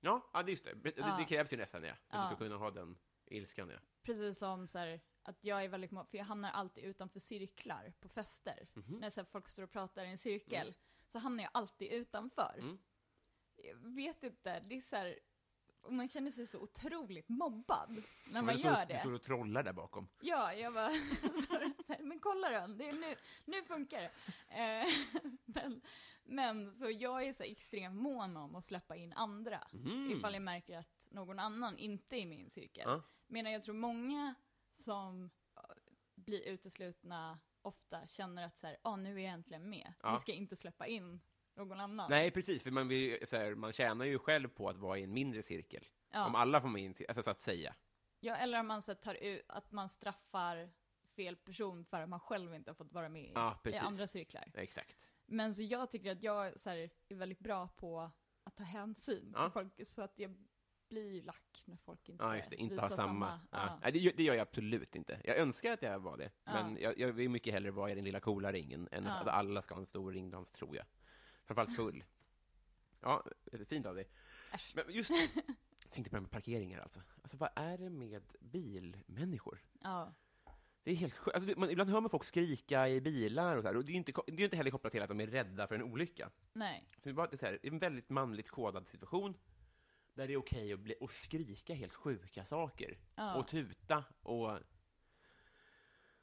[SPEAKER 1] Ja, ja det är just det. Det,
[SPEAKER 2] Ja.
[SPEAKER 1] det krävs ju nästan, ja. För
[SPEAKER 2] Ja.
[SPEAKER 1] att du ska kunna ha den ilskan, ja.
[SPEAKER 2] Precis som så här, att jag är väldigt mån, för jag hamnar alltid utanför cirklar på fester. När så här, folk står och pratar i en cirkel så hamnar jag alltid utanför. Jag vet inte, det är så här, och man känner sig så otroligt mobbad när man
[SPEAKER 1] du
[SPEAKER 2] gör
[SPEAKER 1] Du
[SPEAKER 2] det.
[SPEAKER 1] står och trollar där bakom.
[SPEAKER 2] Ja, jag bara, så här, men kolla den, det är nu, nu funkar det. Eh, men, men så jag är så här extremt mån om att släppa in andra, ifall jag märker att någon annan inte är i min cirkel.
[SPEAKER 1] Mhm. Ja.
[SPEAKER 2] Medan jag tror många som eh, blir uteslutna ofta känner att så här, ah, nu är jag äntligen med, nu
[SPEAKER 1] Ja.
[SPEAKER 2] ska jag inte släppa in någon annan.
[SPEAKER 1] Nej, precis, för man, vill, ju- så här, man tjänar ju själv på att vara i en mindre cirkel.
[SPEAKER 2] Ja.
[SPEAKER 1] Om alla får med i en cir- alltså så att säga.
[SPEAKER 2] Ja, eller om man så här, tar ut, att man straffar fel person för att man själv inte har fått vara med i,
[SPEAKER 1] Ja,
[SPEAKER 2] i
[SPEAKER 1] precis.
[SPEAKER 2] andra cirklar.
[SPEAKER 1] Ja, Exakt.
[SPEAKER 2] Men så jag tycker att jag så här, är väldigt bra på att ta hänsyn till
[SPEAKER 1] Ja.
[SPEAKER 2] folk, så att jag blir ju lack när folk inte,
[SPEAKER 1] Ja, just det. Inte ha
[SPEAKER 2] visar
[SPEAKER 1] samma. Ja.
[SPEAKER 2] Ja.
[SPEAKER 1] Nej, det, gör- det gör jag absolut inte. Jag önskar att jag var det,
[SPEAKER 2] Ja.
[SPEAKER 1] men jag, jag vill mycket hellre vara i den lilla coola ringen än
[SPEAKER 2] Ja.
[SPEAKER 1] att alla ska ha en stor ringdans, tror jag. Framförallt full. ja, fint av dig.
[SPEAKER 2] Äsch.
[SPEAKER 1] Men just jag tänkte på det här med parkeringar alltså. Alltså, vad är det med bilmänniskor?
[SPEAKER 2] Ja.
[SPEAKER 1] Det är helt sjukt. Alltså, det- man, ibland hör man folk skrika i bilar och så här, och det är ju inte, ko- det är inte heller kopplat till att de är rädda för en olycka.
[SPEAKER 2] Nej.
[SPEAKER 1] Det är bara det är så här, en väldigt manligt kodad situation där det är okej att, bli, att skrika helt sjuka saker
[SPEAKER 2] Ja.
[SPEAKER 1] och tuta och...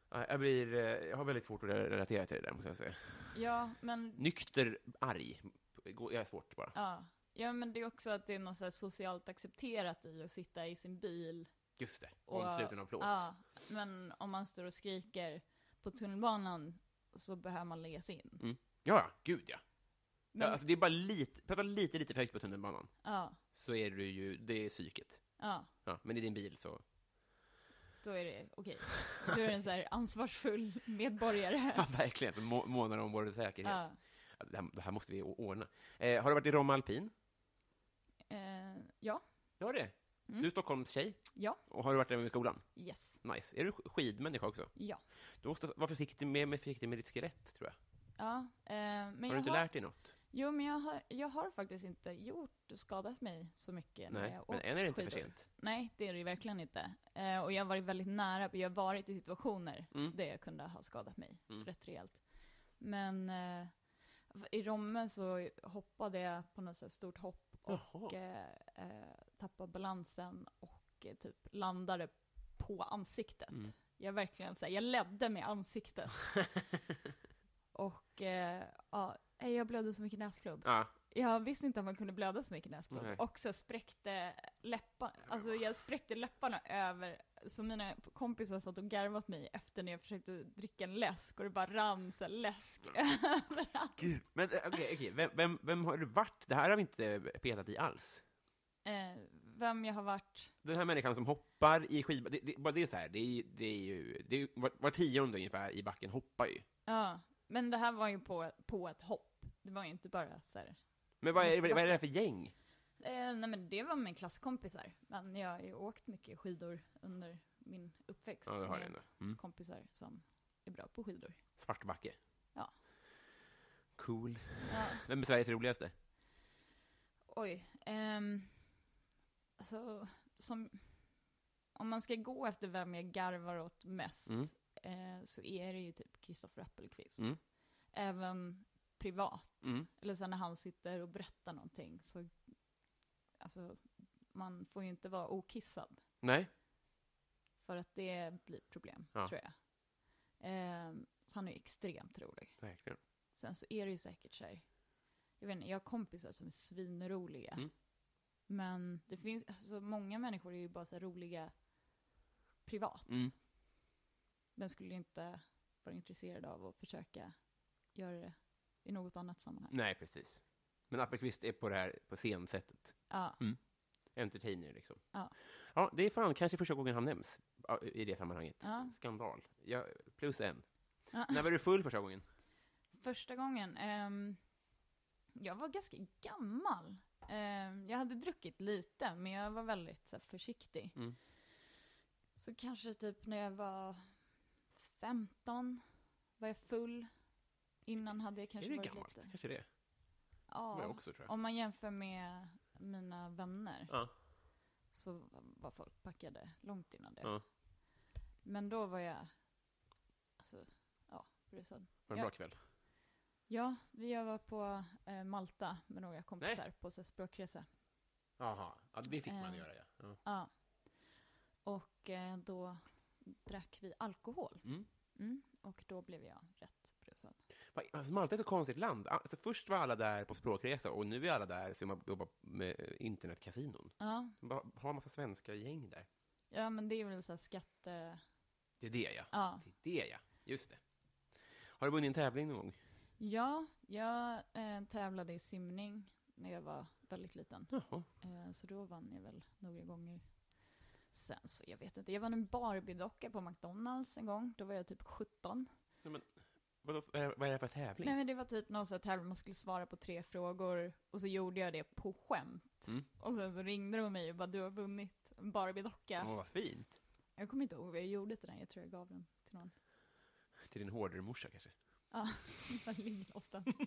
[SPEAKER 1] Ja, Jag, blir, eh, jag har väldigt svårt att re- relatera till det där, måste jag säga.
[SPEAKER 2] ja, men, går
[SPEAKER 1] Nykter arg. Går- Jag är svårt bara.
[SPEAKER 2] ja. ja, men det är också att det är något så här socialt accepterat i att sitta i sin bil.
[SPEAKER 1] Just det. Omsluten av plåt.
[SPEAKER 2] Ja, men om man står och skriker på tunnelbanan så behöver man läggas in.
[SPEAKER 1] Mm. Ja, ja. Gud, ja.
[SPEAKER 2] Men,
[SPEAKER 1] ja alltså, det är bara lite... Prata lite, lite för högt på tunnelbanan,
[SPEAKER 2] ja,
[SPEAKER 1] så är du ju... Det är psyket.
[SPEAKER 2] ja,
[SPEAKER 1] Ja, men i din bil så...
[SPEAKER 2] då är det okej. Då är det en så här ansvarsfull medborgare.
[SPEAKER 1] Ja, verkligen. Så må, månar om vår säkerhet.
[SPEAKER 2] Ja.
[SPEAKER 1] Ja, Det, här, det här måste vi å- ordna. Eh, har du varit i Romme Alpin?
[SPEAKER 2] Eh, ja,
[SPEAKER 1] Jag har det.
[SPEAKER 2] Mm.
[SPEAKER 1] Du är Stockholms tjej.
[SPEAKER 2] Ja.
[SPEAKER 1] Och har du varit där med i skolan?
[SPEAKER 2] yes,
[SPEAKER 1] Nice. Är du sk- skidmänniska också?
[SPEAKER 2] ja.
[SPEAKER 1] Du måste vara försiktig med, med, försiktig med ditt skelett, tror jag.
[SPEAKER 2] Ja, eh, men
[SPEAKER 1] har du
[SPEAKER 2] jag
[SPEAKER 1] inte
[SPEAKER 2] har,
[SPEAKER 1] lärt dig något?
[SPEAKER 2] Jo, men jag har, jag har faktiskt inte gjort skadat mig så mycket när
[SPEAKER 1] Nej,
[SPEAKER 2] jag
[SPEAKER 1] men
[SPEAKER 2] åkt
[SPEAKER 1] än är det inte för
[SPEAKER 2] skidor.
[SPEAKER 1] sent.
[SPEAKER 2] Nej, det är det ju verkligen inte. Eh, och jag har varit väldigt nära, jag har varit i situationer
[SPEAKER 1] Mm.
[SPEAKER 2] där jag kunde ha skadat mig
[SPEAKER 1] Mm.
[SPEAKER 2] rätt rejält. Men eh, i Romme så hoppade jag på något så här stort hopp och
[SPEAKER 1] Jaha.
[SPEAKER 2] eh, eh, tappade balansen och eh, typ landade på ansiktet.
[SPEAKER 1] Mm.
[SPEAKER 2] Jag verkligen så här, jag ledde med ansiktet. och eh, ja, nej, jag blödde så mycket näsblod.
[SPEAKER 1] Ja,
[SPEAKER 2] Jag visste inte att man kunde blöda så mycket näsblod.
[SPEAKER 1] Nej.
[SPEAKER 2] Och så spräckte läpparna, alltså jag spräckte läpparna över, så mina kompisar satt och garvade åt mig efter när jag försökte dricka en läsk och det bara rann så här läsk
[SPEAKER 1] Mm.
[SPEAKER 2] överallt.
[SPEAKER 1] gud. Men eh, okej, okej. Vem, vem, vem har du varit? Det här har vi inte petat i alls.
[SPEAKER 2] Eh, vem jag har varit,
[SPEAKER 1] Den här människan som hoppar i skidbacken, det, det, bara det är så här, det är, det är ju, det är, ju- var, var tionde ungefär i backen hoppar ju.
[SPEAKER 2] ja. Men det här var ju på, på ett hopp. Det var ju inte bara så här.
[SPEAKER 1] Men vad är, vad är vad är det här för gäng?
[SPEAKER 2] Eh, nej men det var med klasskompisar. Men jag har ju åkt mycket skidor under min uppväxt.
[SPEAKER 1] Ja, det har
[SPEAKER 2] med
[SPEAKER 1] jag ändå. Mm.
[SPEAKER 2] kompisar som är bra på skidor.
[SPEAKER 1] Svartbacke.
[SPEAKER 2] Ja.
[SPEAKER 1] Cool.
[SPEAKER 2] Ja.
[SPEAKER 1] Vem är Sveriges roligaste?
[SPEAKER 2] Oj. ehm, alltså, som, om man ska gå efter vem jag garvar åt mest,
[SPEAKER 1] Mm.
[SPEAKER 2] eh, så är det ju typ Kristoffer Appelqvist.
[SPEAKER 1] Mm.
[SPEAKER 2] Även privat.
[SPEAKER 1] Mm.
[SPEAKER 2] Eller sen när han sitter och berättar någonting så, alltså, man får ju inte vara okissad.
[SPEAKER 1] Nej.
[SPEAKER 2] För att det blir problem,
[SPEAKER 1] Ja.
[SPEAKER 2] tror jag. Eh, så han är ju extremt rolig.
[SPEAKER 1] Verkligen.
[SPEAKER 2] Sen så är det ju säkert så här, jag vet inte, jag har kompisar som är svinroliga.
[SPEAKER 1] Mm.
[SPEAKER 2] Men det finns, alltså många människor är ju bara så här roliga privat.
[SPEAKER 1] Mm.
[SPEAKER 2] Men skulle inte vara intresserad av att försöka göra det i något annat sammanhang.
[SPEAKER 1] Nej, precis. Men Appelqvist är på det här på scensättet.
[SPEAKER 2] Ja,
[SPEAKER 1] Entertainer, liksom.
[SPEAKER 2] Ja.
[SPEAKER 1] ja, det är fan kanske första gången han nämns ja, i det sammanhanget.
[SPEAKER 2] Ja.
[SPEAKER 1] Skandal. Ja, plus en.
[SPEAKER 2] Ja.
[SPEAKER 1] När var du full första gången?
[SPEAKER 2] första gången, ehm, jag var ganska gammal. Ehm, jag hade druckit lite, men jag var väldigt så här, försiktig.
[SPEAKER 1] Mm.
[SPEAKER 2] Så kanske typ när jag var 15 var jag full. Innan hade jag kanske
[SPEAKER 1] är det
[SPEAKER 2] varit
[SPEAKER 1] gammalt?
[SPEAKER 2] lite...
[SPEAKER 1] Kanske det. Det var jag
[SPEAKER 2] Ja,
[SPEAKER 1] också, tror jag.
[SPEAKER 2] om man jämför med mina vänner
[SPEAKER 1] Ja.
[SPEAKER 2] så var folk packade långt innan det.
[SPEAKER 1] Ja.
[SPEAKER 2] Men då var jag, alltså, ja, brusad.
[SPEAKER 1] Var det en
[SPEAKER 2] Ja.
[SPEAKER 1] bra kväll?
[SPEAKER 2] Ja, vi- jag var på eh, Malta med några kompisar på så här, språkresa.
[SPEAKER 1] Jaha. Ja, det fick man
[SPEAKER 2] Eh.
[SPEAKER 1] göra, ja. ja.
[SPEAKER 2] Ja. Och eh, då drack vi alkohol.
[SPEAKER 1] Mm.
[SPEAKER 2] Mm, och då blev jag rätt brusad.
[SPEAKER 1] Va- Alltså, Malta är ett så konstigt land. Alltså, först var alla där på språkresa och nu är alla där som har- jobbar med eh, internetkasinon.
[SPEAKER 2] Ja,
[SPEAKER 1] Bara Har massa svenska gäng där.
[SPEAKER 2] ja men det är väl så här skatte...
[SPEAKER 1] Det är det, ja.
[SPEAKER 2] Ja,
[SPEAKER 1] Det är det, ja. Just det. Har du vunnit en tävling någon gång?
[SPEAKER 2] ja jag eh, tävlade i simning när jag var väldigt liten.
[SPEAKER 1] Jaha.
[SPEAKER 2] Eh, så då vann jag väl några gånger. Sen så, jag vet inte, jag vann en Barbie-docka på McDonalds en gång. Då var jag typ 17.
[SPEAKER 1] Vadå, vad är vad är det för tävling?
[SPEAKER 2] Nej men det var typ någon sån här tävling, man skulle svara på tre frågor och så gjorde jag det på skämt.
[SPEAKER 1] Mm.
[SPEAKER 2] Och sen så ringde de mig och bara du har vunnit en Barbie-docka.
[SPEAKER 1] Åh, vad fint.
[SPEAKER 2] Jag kommer inte ihåg vad jag gjorde till den, jag tror jag gav den till någon.
[SPEAKER 1] Till din hårdare morsa kanske?
[SPEAKER 2] Ja, den ligger någonstans.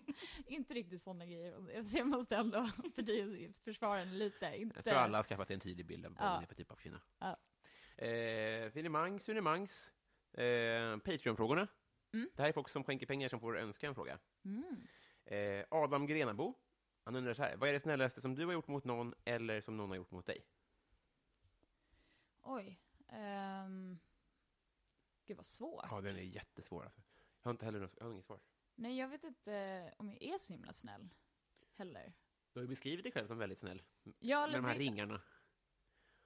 [SPEAKER 2] inte riktigt sådana grejer. Jag ser- Jag måste ändå fördy- försvara den lite. Inte...
[SPEAKER 1] Jag tror alla har skaffat sig en tidig bild av vad
[SPEAKER 2] Ja.
[SPEAKER 1] det är för typ av kvinna.
[SPEAKER 2] Ja.
[SPEAKER 1] Eh, Finemangs, Sunemangs, eh, Patreon-frågorna.
[SPEAKER 2] Mm.
[SPEAKER 1] Det här är folk som skänker pengar som får önska en fråga.
[SPEAKER 2] Mm.
[SPEAKER 1] Eh, Adam Grenabo, han undrar så här, vad är det snällaste som du har gjort mot någon eller som någon har gjort mot dig?
[SPEAKER 2] Oj. Um... Gud vad svårt.
[SPEAKER 1] Ja, den är jättesvår alltså. Jag har inte heller något, jag har inget svar.
[SPEAKER 2] Nej jag vet inte eh, om jag är så himla snäll. Heller.
[SPEAKER 1] Du har ju beskrivit dig själv som väldigt snäll,
[SPEAKER 2] Ja,
[SPEAKER 1] med
[SPEAKER 2] eller
[SPEAKER 1] de här
[SPEAKER 2] det-
[SPEAKER 1] ringarna.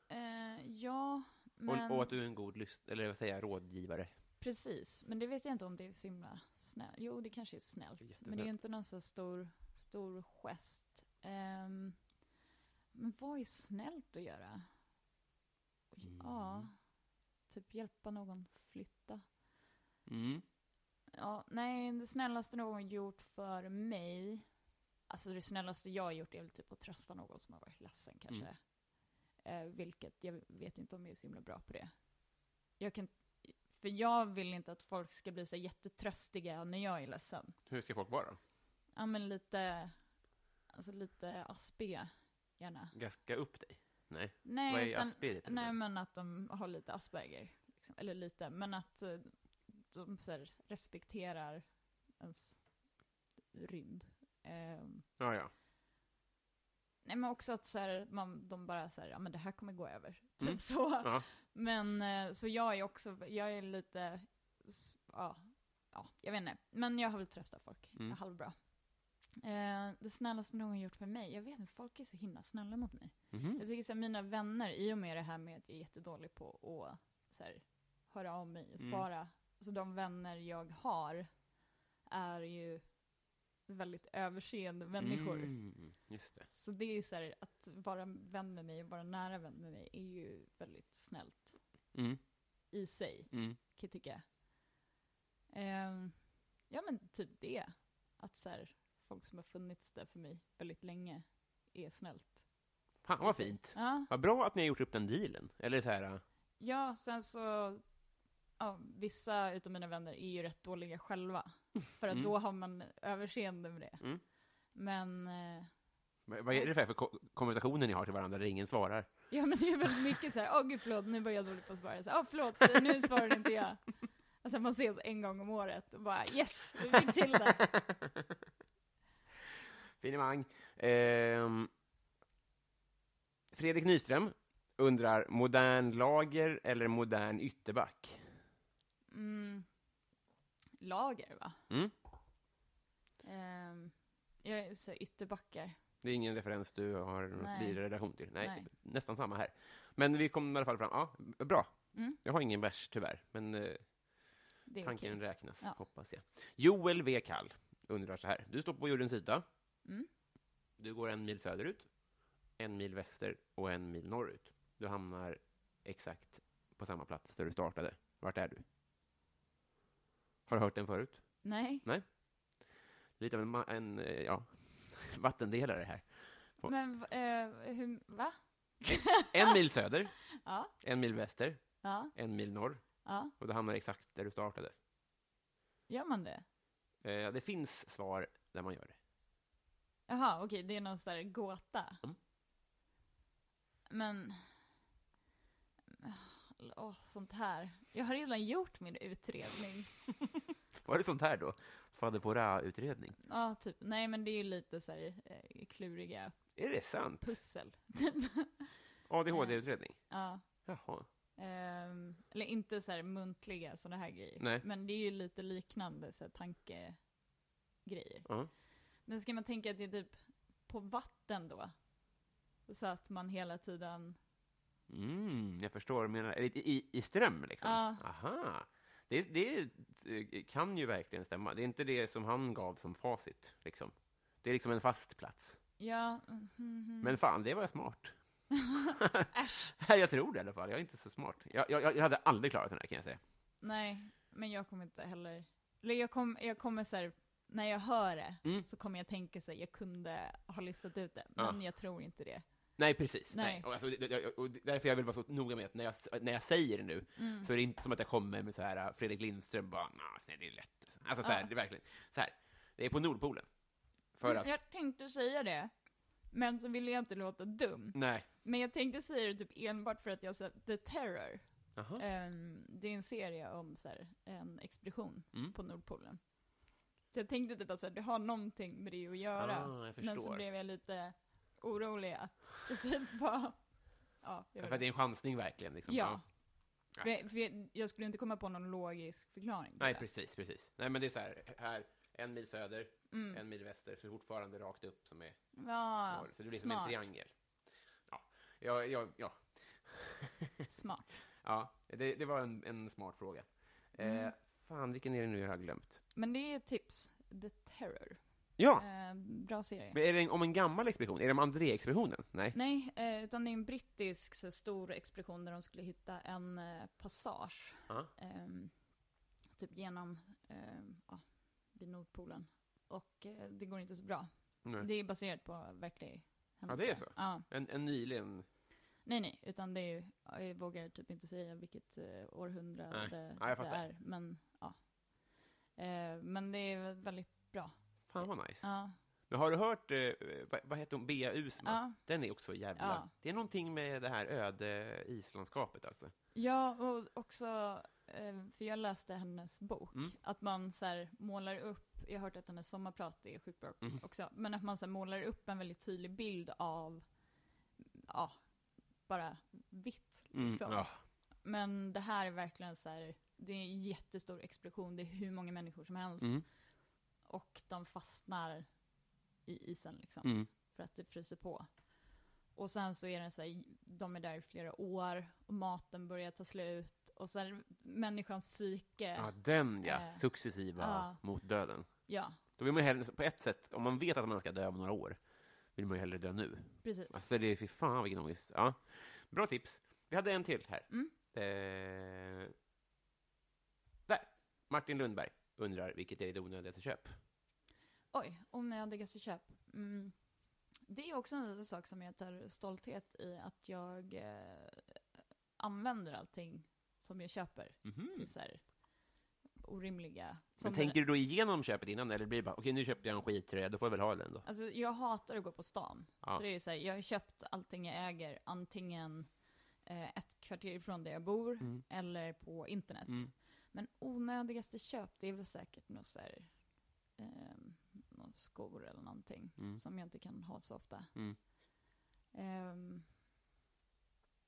[SPEAKER 2] eh, ja men...
[SPEAKER 1] Och, och att du är en god lyst, eller vad säger jag, rådgivare.
[SPEAKER 2] Precis, men det vet jag inte om det är så himla snällt. Jo, det kanske är snällt.
[SPEAKER 1] Det är jättesnällt.
[SPEAKER 2] men det är inte någon så här stor, stor gest. Ehm, men vad är snällt att göra?
[SPEAKER 1] Mm.
[SPEAKER 2] Ja, typ hjälpa någon flytta.
[SPEAKER 1] Mm.
[SPEAKER 2] Ja, nej, det snällaste någon gjort för mig. Alltså det snällaste jag har gjort är väl typ att trösta någon som har varit ledsen
[SPEAKER 1] Mm.
[SPEAKER 2] kanske. Eh, vilket jag vet inte om jag är så himla bra på det. Jag kan, för jag vill inte att folk ska bli så jättetröstiga när jag är ledsen.
[SPEAKER 1] Hur ska folk vara?
[SPEAKER 2] Ja men lite, alltså lite aspiga gärna.
[SPEAKER 1] Gaska upp dig? Nej.
[SPEAKER 2] Nej,
[SPEAKER 1] vad är
[SPEAKER 2] utan,
[SPEAKER 1] Asperger? till
[SPEAKER 2] nej
[SPEAKER 1] exempel?
[SPEAKER 2] men att de har lite Asperger. Liksom. Eller lite, men att eh, de så här, respekterar ens rymd. Ehm,
[SPEAKER 1] Ja, ja.
[SPEAKER 2] nej men också att så här, man, de bara så här, ja men det här kommer gå över. Typ
[SPEAKER 1] Mm.
[SPEAKER 2] så.
[SPEAKER 1] Ja.
[SPEAKER 2] Men eh, så jag är också, jag är lite, s- ja, ja, jag vet inte. Men jag har väl tröstat folk,
[SPEAKER 1] Mm.
[SPEAKER 2] halvbra. Eh, det snällaste någon gjort för mig, jag vet inte, folk är så himla snälla mot mig.
[SPEAKER 1] Mhm.
[SPEAKER 2] Jag tycker så här, mina vänner, i och med det här med att jag är jättedålig på att så här, höra av mig och
[SPEAKER 1] Mm.
[SPEAKER 2] svara. Så de vänner jag har är ju väldigt överseende människor.
[SPEAKER 1] Mm, just det.
[SPEAKER 2] Så det är så här, att vara vän med mig och vara nära vän med mig är ju väldigt snällt
[SPEAKER 1] Mm,
[SPEAKER 2] i sig,
[SPEAKER 1] mm.
[SPEAKER 2] kan jag tycka. Ehm, ja men typ det. Att så här, folk som har funnits där för mig väldigt länge är snällt.
[SPEAKER 1] Fan vad fint.
[SPEAKER 2] Ja.
[SPEAKER 1] Vad bra att ni har gjort upp den dealen. Eller så här, äh,
[SPEAKER 2] Ja, sen så... Ja, vissa utav mina vänner är ju rätt dåliga själva. För att
[SPEAKER 1] Mm.
[SPEAKER 2] då har man överseende med det.
[SPEAKER 1] Mm.
[SPEAKER 2] Men eh,
[SPEAKER 1] Vad vad är det för, för ko- konversationer ni har till varandra där ingen svarar?
[SPEAKER 2] Ja men det är väldigt mycket så här, åh gud förlåt, nu var jag dålig på att svara. Så, här, åh förlåt, eh, nu svarade inte jag. Alltså man ses en gång om året och bara yes, vi fick till det.
[SPEAKER 1] Finemang. Ehm, Fredrik Nyström undrar, modern lager eller modern ytterback?
[SPEAKER 2] Mm. Lager va?
[SPEAKER 1] Mm.
[SPEAKER 2] Ehm, jag är så här ytterbackar.
[SPEAKER 1] Det är ingen referens du har någon
[SPEAKER 2] Nej.
[SPEAKER 1] vidare relation till? Nej,
[SPEAKER 2] Nej.
[SPEAKER 1] nästan samma här. Men vi kom i alla fall fram, ja, bra.
[SPEAKER 2] Mm.
[SPEAKER 1] Jag har ingen vers tyvärr, men eh,
[SPEAKER 2] Det är
[SPEAKER 1] tanken
[SPEAKER 2] okej.
[SPEAKER 1] räknas,
[SPEAKER 2] Ja.
[SPEAKER 1] hoppas jag. Joel V. Kall undrar så här, du står på jordens yta.
[SPEAKER 2] Mm.
[SPEAKER 1] Du går en mil söderut, en mil väster och en mil norrut. Du hamnar exakt på samma plats där du startade. Vart är du? Har du hört den förut?
[SPEAKER 2] Nej,
[SPEAKER 1] Lite av en, ma- en eh, ja, vattendelare här. På-
[SPEAKER 2] men eh, hur, va?
[SPEAKER 1] En mil söder,
[SPEAKER 2] Ja,
[SPEAKER 1] en mil väster,
[SPEAKER 2] ja,
[SPEAKER 1] en mil norr
[SPEAKER 2] ja.
[SPEAKER 1] och du hamnar exakt där du startade.
[SPEAKER 2] Gör man det?
[SPEAKER 1] Eh, det finns svar där man gör det.
[SPEAKER 2] Jaha, okej, det är någon sån här gåta.
[SPEAKER 1] Mm.
[SPEAKER 2] Men... Åh, sånt här. Jag har redan gjort min utredning.
[SPEAKER 1] Var det sånt här då? Fader utredning
[SPEAKER 2] Ja, typ. Nej, men det är ju lite så här eh, kluriga
[SPEAKER 1] Är det sant?
[SPEAKER 2] pussel. typ.
[SPEAKER 1] ADHD-utredning?
[SPEAKER 2] ja.
[SPEAKER 1] Jaha.
[SPEAKER 2] ehm, eller inte så här muntliga såna här grejer.
[SPEAKER 1] Nej.
[SPEAKER 2] Men det är ju lite liknande så här, tankegrejer.
[SPEAKER 1] Ja.
[SPEAKER 2] Men ska man tänka att det är typ på vatten då? Så att man hela tiden...
[SPEAKER 1] Mm, jag förstår. vad du Menar, i, i, I ström, liksom?
[SPEAKER 2] Ja.
[SPEAKER 1] Aha. Det, det eh, kan ju verkligen stämma. Det är inte det som han gav som facit. Liksom. Det är liksom en fast plats.
[SPEAKER 2] Ja, mhm, mhm.
[SPEAKER 1] Men fan, det var smart.
[SPEAKER 2] Äsch.
[SPEAKER 1] jag tror det i alla fall. Jag är inte så smart. Jag, jag, jag hade aldrig klarat den här, kan jag säga.
[SPEAKER 2] Nej, men jag kommer inte heller... Eller jag, kom, jag kommer så här, när jag hör det
[SPEAKER 1] Mm.
[SPEAKER 2] så kommer jag tänka så här, jag kunde ha listat ut det, men jag tror inte det.
[SPEAKER 1] Nej, precis.
[SPEAKER 2] Nej.
[SPEAKER 1] Och alltså, det- det- och därför jag vill vara så noga med att när jag, när jag säger det nu
[SPEAKER 2] Mm.
[SPEAKER 1] så är det inte som att jag kommer med så här äh, Fredrik Lindström bara, "Nah, nej, det är lätt. Alltså så här,
[SPEAKER 2] Ja. Mm,
[SPEAKER 1] det är verkligen, så här, det är på Nordpolen. För att,
[SPEAKER 2] Jag tänkte säga det, men så ville jag inte låta dum.
[SPEAKER 1] nej.
[SPEAKER 2] Men jag tänkte säga det typ enbart för att jag har sett The Terror.
[SPEAKER 1] Aha.
[SPEAKER 2] Ehm, det är en serie om så här, en expedition
[SPEAKER 1] Mm.
[SPEAKER 2] på Nordpolen. Så jag tänkte typ att så här, det har någonting med det att göra.
[SPEAKER 1] Ah, jag
[SPEAKER 2] men så
[SPEAKER 1] förstår.
[SPEAKER 2] blev jag lite orolig att det typ bara... Ja, jag
[SPEAKER 1] För att det är en chansning verkligen. Liksom.
[SPEAKER 2] Ja.
[SPEAKER 1] Ja.
[SPEAKER 2] För, för jag, jag skulle inte komma på någon logisk förklaring. till
[SPEAKER 1] Nej,
[SPEAKER 2] det.
[SPEAKER 1] precis, precis. Nej, men det är så här, här, en mil söder,
[SPEAKER 2] Mm.
[SPEAKER 1] en mil väster, så fortfarande rakt upp som är
[SPEAKER 2] Ja,
[SPEAKER 1] norr. Så det blir som en
[SPEAKER 2] smart,
[SPEAKER 1] triangel. Ja, ja, ja, ja.
[SPEAKER 2] smart.
[SPEAKER 1] Ja, det, det var en, en smart fråga.
[SPEAKER 2] Mm.
[SPEAKER 1] Eh, fan, vilken är det nu jag har glömt?
[SPEAKER 2] Men det är ett tips. The Terror.
[SPEAKER 1] Ja!
[SPEAKER 2] Eh, bra serie.
[SPEAKER 1] Men är det en, om en gammal expedition? Är det om André-expeditionen? Nej.
[SPEAKER 2] Nej, eh, utan det är en brittisk så, här, stor expedition där de skulle hitta en eh, passage.
[SPEAKER 1] Ja.
[SPEAKER 2] ehm, typ genom, ehm, ja, vid Nordpolen. Och eh, det går inte så bra.
[SPEAKER 1] Nej.
[SPEAKER 2] Det är baserat på verklig händelse.
[SPEAKER 1] det är så?
[SPEAKER 2] Ja.
[SPEAKER 1] En, en nyligen...
[SPEAKER 2] Nej, nej, utan det är ju, ja, jag vågar typ inte säga vilket eh, århundrade
[SPEAKER 1] Nej.
[SPEAKER 2] det,
[SPEAKER 1] Ja, jag fattar.
[SPEAKER 2] är, men ja. Eh, men det är väldigt bra.
[SPEAKER 1] Fan vad nice.
[SPEAKER 2] Ja,
[SPEAKER 1] Men har du hört, eh, vad, vad heter hon, Bea Usma?
[SPEAKER 2] Ja.
[SPEAKER 1] Den är också jävla...
[SPEAKER 2] Ja.
[SPEAKER 1] Det är någonting med det här öde islandskapet alltså.
[SPEAKER 2] ja och också, eh, för jag läste hennes bok,
[SPEAKER 1] Mm.
[SPEAKER 2] att man så här, målar upp, jag har hört att hennes sommarprat är sjukt bra
[SPEAKER 1] Mm.
[SPEAKER 2] också, men att man så här, målar upp en väldigt tydlig bild av, ja, bara vitt
[SPEAKER 1] Mm,
[SPEAKER 2] liksom.
[SPEAKER 1] ja.
[SPEAKER 2] Men det här är verkligen så här, det är en jättestor explosion, det är hur många människor som helst.
[SPEAKER 1] Mm.
[SPEAKER 2] Och de fastnar i isen liksom,
[SPEAKER 1] Mm.
[SPEAKER 2] för att det fryser på. Och sen så är det så här, de är där i flera år, och maten börjar ta slut, och sen människans psyke,
[SPEAKER 1] ja, den ja.
[SPEAKER 2] Eh.
[SPEAKER 1] Successiva
[SPEAKER 2] Ja.
[SPEAKER 1] mot döden.
[SPEAKER 2] ja,
[SPEAKER 1] Då vill man ju hellre, på ett sätt, om man vet att man ska dö om några år, vill man ju hellre dö nu.
[SPEAKER 2] precis.
[SPEAKER 1] Alltså det är fy fan vilken ångest. Ja. Bra tips. Vi hade en till här.
[SPEAKER 2] Mm.
[SPEAKER 1] Eh, där! Martin Lundberg undrar vilket är ditt onödigaste köp?
[SPEAKER 2] Oj, onödigaste köp. Mm. Det är också en sak som jag tar stolthet i, att jag eh, använder allting som jag köper.
[SPEAKER 1] Mhm.
[SPEAKER 2] till så här, orimliga.
[SPEAKER 1] Men
[SPEAKER 2] Som
[SPEAKER 1] tänker du då igenom köpet innan, eller blir det bara okej, nu köpte jag en skittröja, då får jag väl ha den då?
[SPEAKER 2] Alltså jag hatar att gå på stan.
[SPEAKER 1] Ja.
[SPEAKER 2] Så det är ju så här, jag har köpt allting jag äger, antingen eh, ett kvarter ifrån där jag bor,
[SPEAKER 1] Mm.
[SPEAKER 2] eller på internet.
[SPEAKER 1] Mm.
[SPEAKER 2] Men onödigaste köp, det är väl säkert något så här, ehm, några skor eller någonting,
[SPEAKER 1] Mm.
[SPEAKER 2] som jag inte kan ha så ofta.
[SPEAKER 1] Mm.
[SPEAKER 2] Ehm,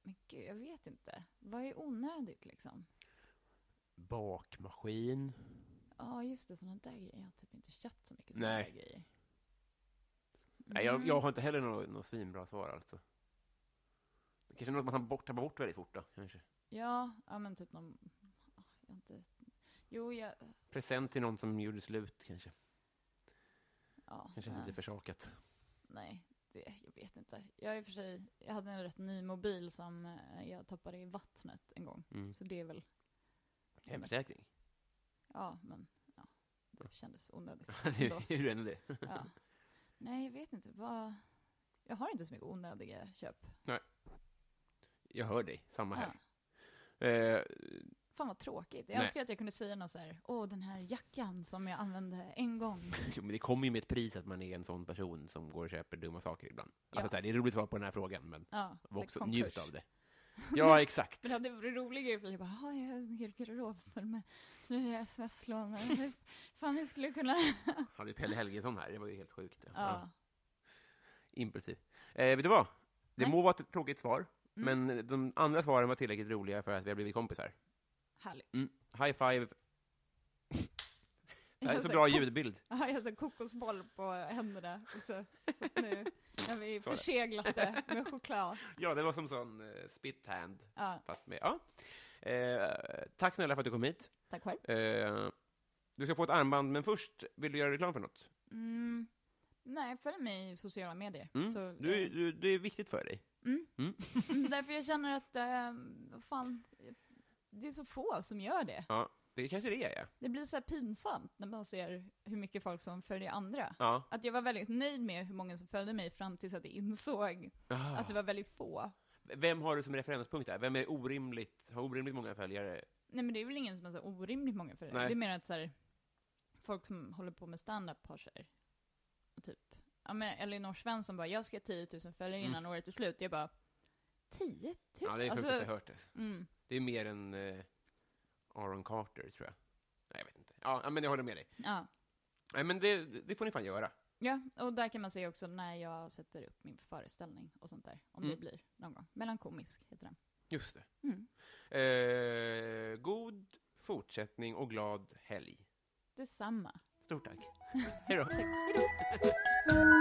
[SPEAKER 2] men gud, jag vet inte. Vad är onödigt liksom?
[SPEAKER 1] Bakmaskin.
[SPEAKER 2] Ja, just det, sådana där grejer. Jag har typ inte köpt så mycket sådana
[SPEAKER 1] Nej.
[SPEAKER 2] där grejer.
[SPEAKER 1] Nej, jag,
[SPEAKER 2] Mm.
[SPEAKER 1] jag har inte heller något, något svinbra svar alltså. Det Kanske något man kan bort, tappar bort väldigt fort då, kanske.
[SPEAKER 2] Ja, ja men typ någon... ah, Jag har inte... Jo, jag...
[SPEAKER 1] Present till någon som gjorde slut, kanske.
[SPEAKER 2] Ja,
[SPEAKER 1] Kanske
[SPEAKER 2] nej,
[SPEAKER 1] lite försakat.
[SPEAKER 2] nej det, jag vet inte. Jag är i och för sig... Jag hade en rätt ny mobil som eh, jag tappade i vattnet en gång.
[SPEAKER 1] Mm.
[SPEAKER 2] Så det är väl...
[SPEAKER 1] Hemförsäkring.
[SPEAKER 2] Ja, men... Ja, det kändes onödigt ändå.
[SPEAKER 1] Hur är det?
[SPEAKER 2] ja. Nej, jag vet inte. Vad... Jag har inte så mycket onödiga köp.
[SPEAKER 1] Jag hör dig, samma
[SPEAKER 2] Ja.
[SPEAKER 1] här. Eh,
[SPEAKER 2] Fan vad tråkigt. Jag
[SPEAKER 1] Nej.
[SPEAKER 2] önskar att jag kunde säga något så här, åh den här jackan som jag använde en gång.
[SPEAKER 1] jo, men det kommer ju med ett pris att man är en sån person som går och köper dumma saker ibland. Alltså,
[SPEAKER 2] Ja.
[SPEAKER 1] så här, det är roligt att svara på den här frågan, men
[SPEAKER 2] Ja, så här
[SPEAKER 1] också
[SPEAKER 2] konkurs.
[SPEAKER 1] njut av det. Ja, exakt.
[SPEAKER 2] Men det hade varit roligare för jag bara, "Ah, jag har en hel garderob full med snygga sms-lån. Hur Fan, jag skulle kunna...
[SPEAKER 1] Hade ju Pelle Helgesson här, det var ju helt sjukt. Ja.
[SPEAKER 2] Ja. Mm.
[SPEAKER 1] Impulsiv. Eh, vet du vad? Det
[SPEAKER 2] Nej. Mm.
[SPEAKER 1] må vara ett tråkigt svar, men de andra svaren var tillräckligt roliga för att vi har blivit kompisar.
[SPEAKER 2] Härligt.
[SPEAKER 1] Mm. High five. Det här är
[SPEAKER 2] Jag
[SPEAKER 1] så
[SPEAKER 2] sa
[SPEAKER 1] bra
[SPEAKER 2] ko-
[SPEAKER 1] ljudbild.
[SPEAKER 2] Ja, jag har en kokosboll på händerna också. Så att nu har vi
[SPEAKER 1] Så är det.
[SPEAKER 2] förseglat det med choklad.
[SPEAKER 1] Ja, det var som sån eh, spit hand,
[SPEAKER 2] Ja,
[SPEAKER 1] fast med... Ja. Eh, tack snälla för att du kom hit.
[SPEAKER 2] tack själv.
[SPEAKER 1] Eh, du ska få ett armband, men först vill du göra reklam för något.
[SPEAKER 2] Mm. Nej, följ mig i sociala medier.
[SPEAKER 1] Mm.
[SPEAKER 2] Så,
[SPEAKER 1] Du,
[SPEAKER 2] eh,
[SPEAKER 1] du, det är viktigt för dig.
[SPEAKER 2] Mm, Därför jag känner att, eh, vad fan, det är så få som gör det.
[SPEAKER 1] Ja, det kanske det är, ja.
[SPEAKER 2] Det blir så här pinsamt när man ser hur mycket folk som följer andra.
[SPEAKER 1] ja.
[SPEAKER 2] Att jag var väldigt nöjd med hur många som följde mig fram tills att jag insåg
[SPEAKER 1] Ah.
[SPEAKER 2] att det var väldigt få.
[SPEAKER 1] Vem har du som referenspunkt där? Vem är orimligt, har orimligt många följare?
[SPEAKER 2] Nej men det är väl ingen som har så orimligt många följare.
[SPEAKER 1] Nej.
[SPEAKER 2] Det är mer att så här, folk som håller på med stand-up har så här, typ, ja men Elinor Svensson bara, jag ska ha 10 000 följare innan året är slut. Jag bara, 10 000?
[SPEAKER 1] Mm. Ja, det är sjukt
[SPEAKER 2] Alltså,
[SPEAKER 1] att jag hört det.
[SPEAKER 2] mm,
[SPEAKER 1] Det är mer än eh, Aaron Carter, tror jag. Nej, jag vet inte. Ja, ja, men jag håller med dig.
[SPEAKER 2] ja.
[SPEAKER 1] Nej, men det, det får ni fan göra.
[SPEAKER 2] Ja, och där kan man se också när jag sätter upp min föreställning och sånt där. Om det
[SPEAKER 1] Mm.
[SPEAKER 2] blir någon gång. Melankomisk heter den.
[SPEAKER 1] Just
[SPEAKER 2] Mm.
[SPEAKER 1] det. Eh, god fortsättning och glad helg.
[SPEAKER 2] Detsamma.
[SPEAKER 1] Stort tack. Hej då.
[SPEAKER 2] Tack ska du ha.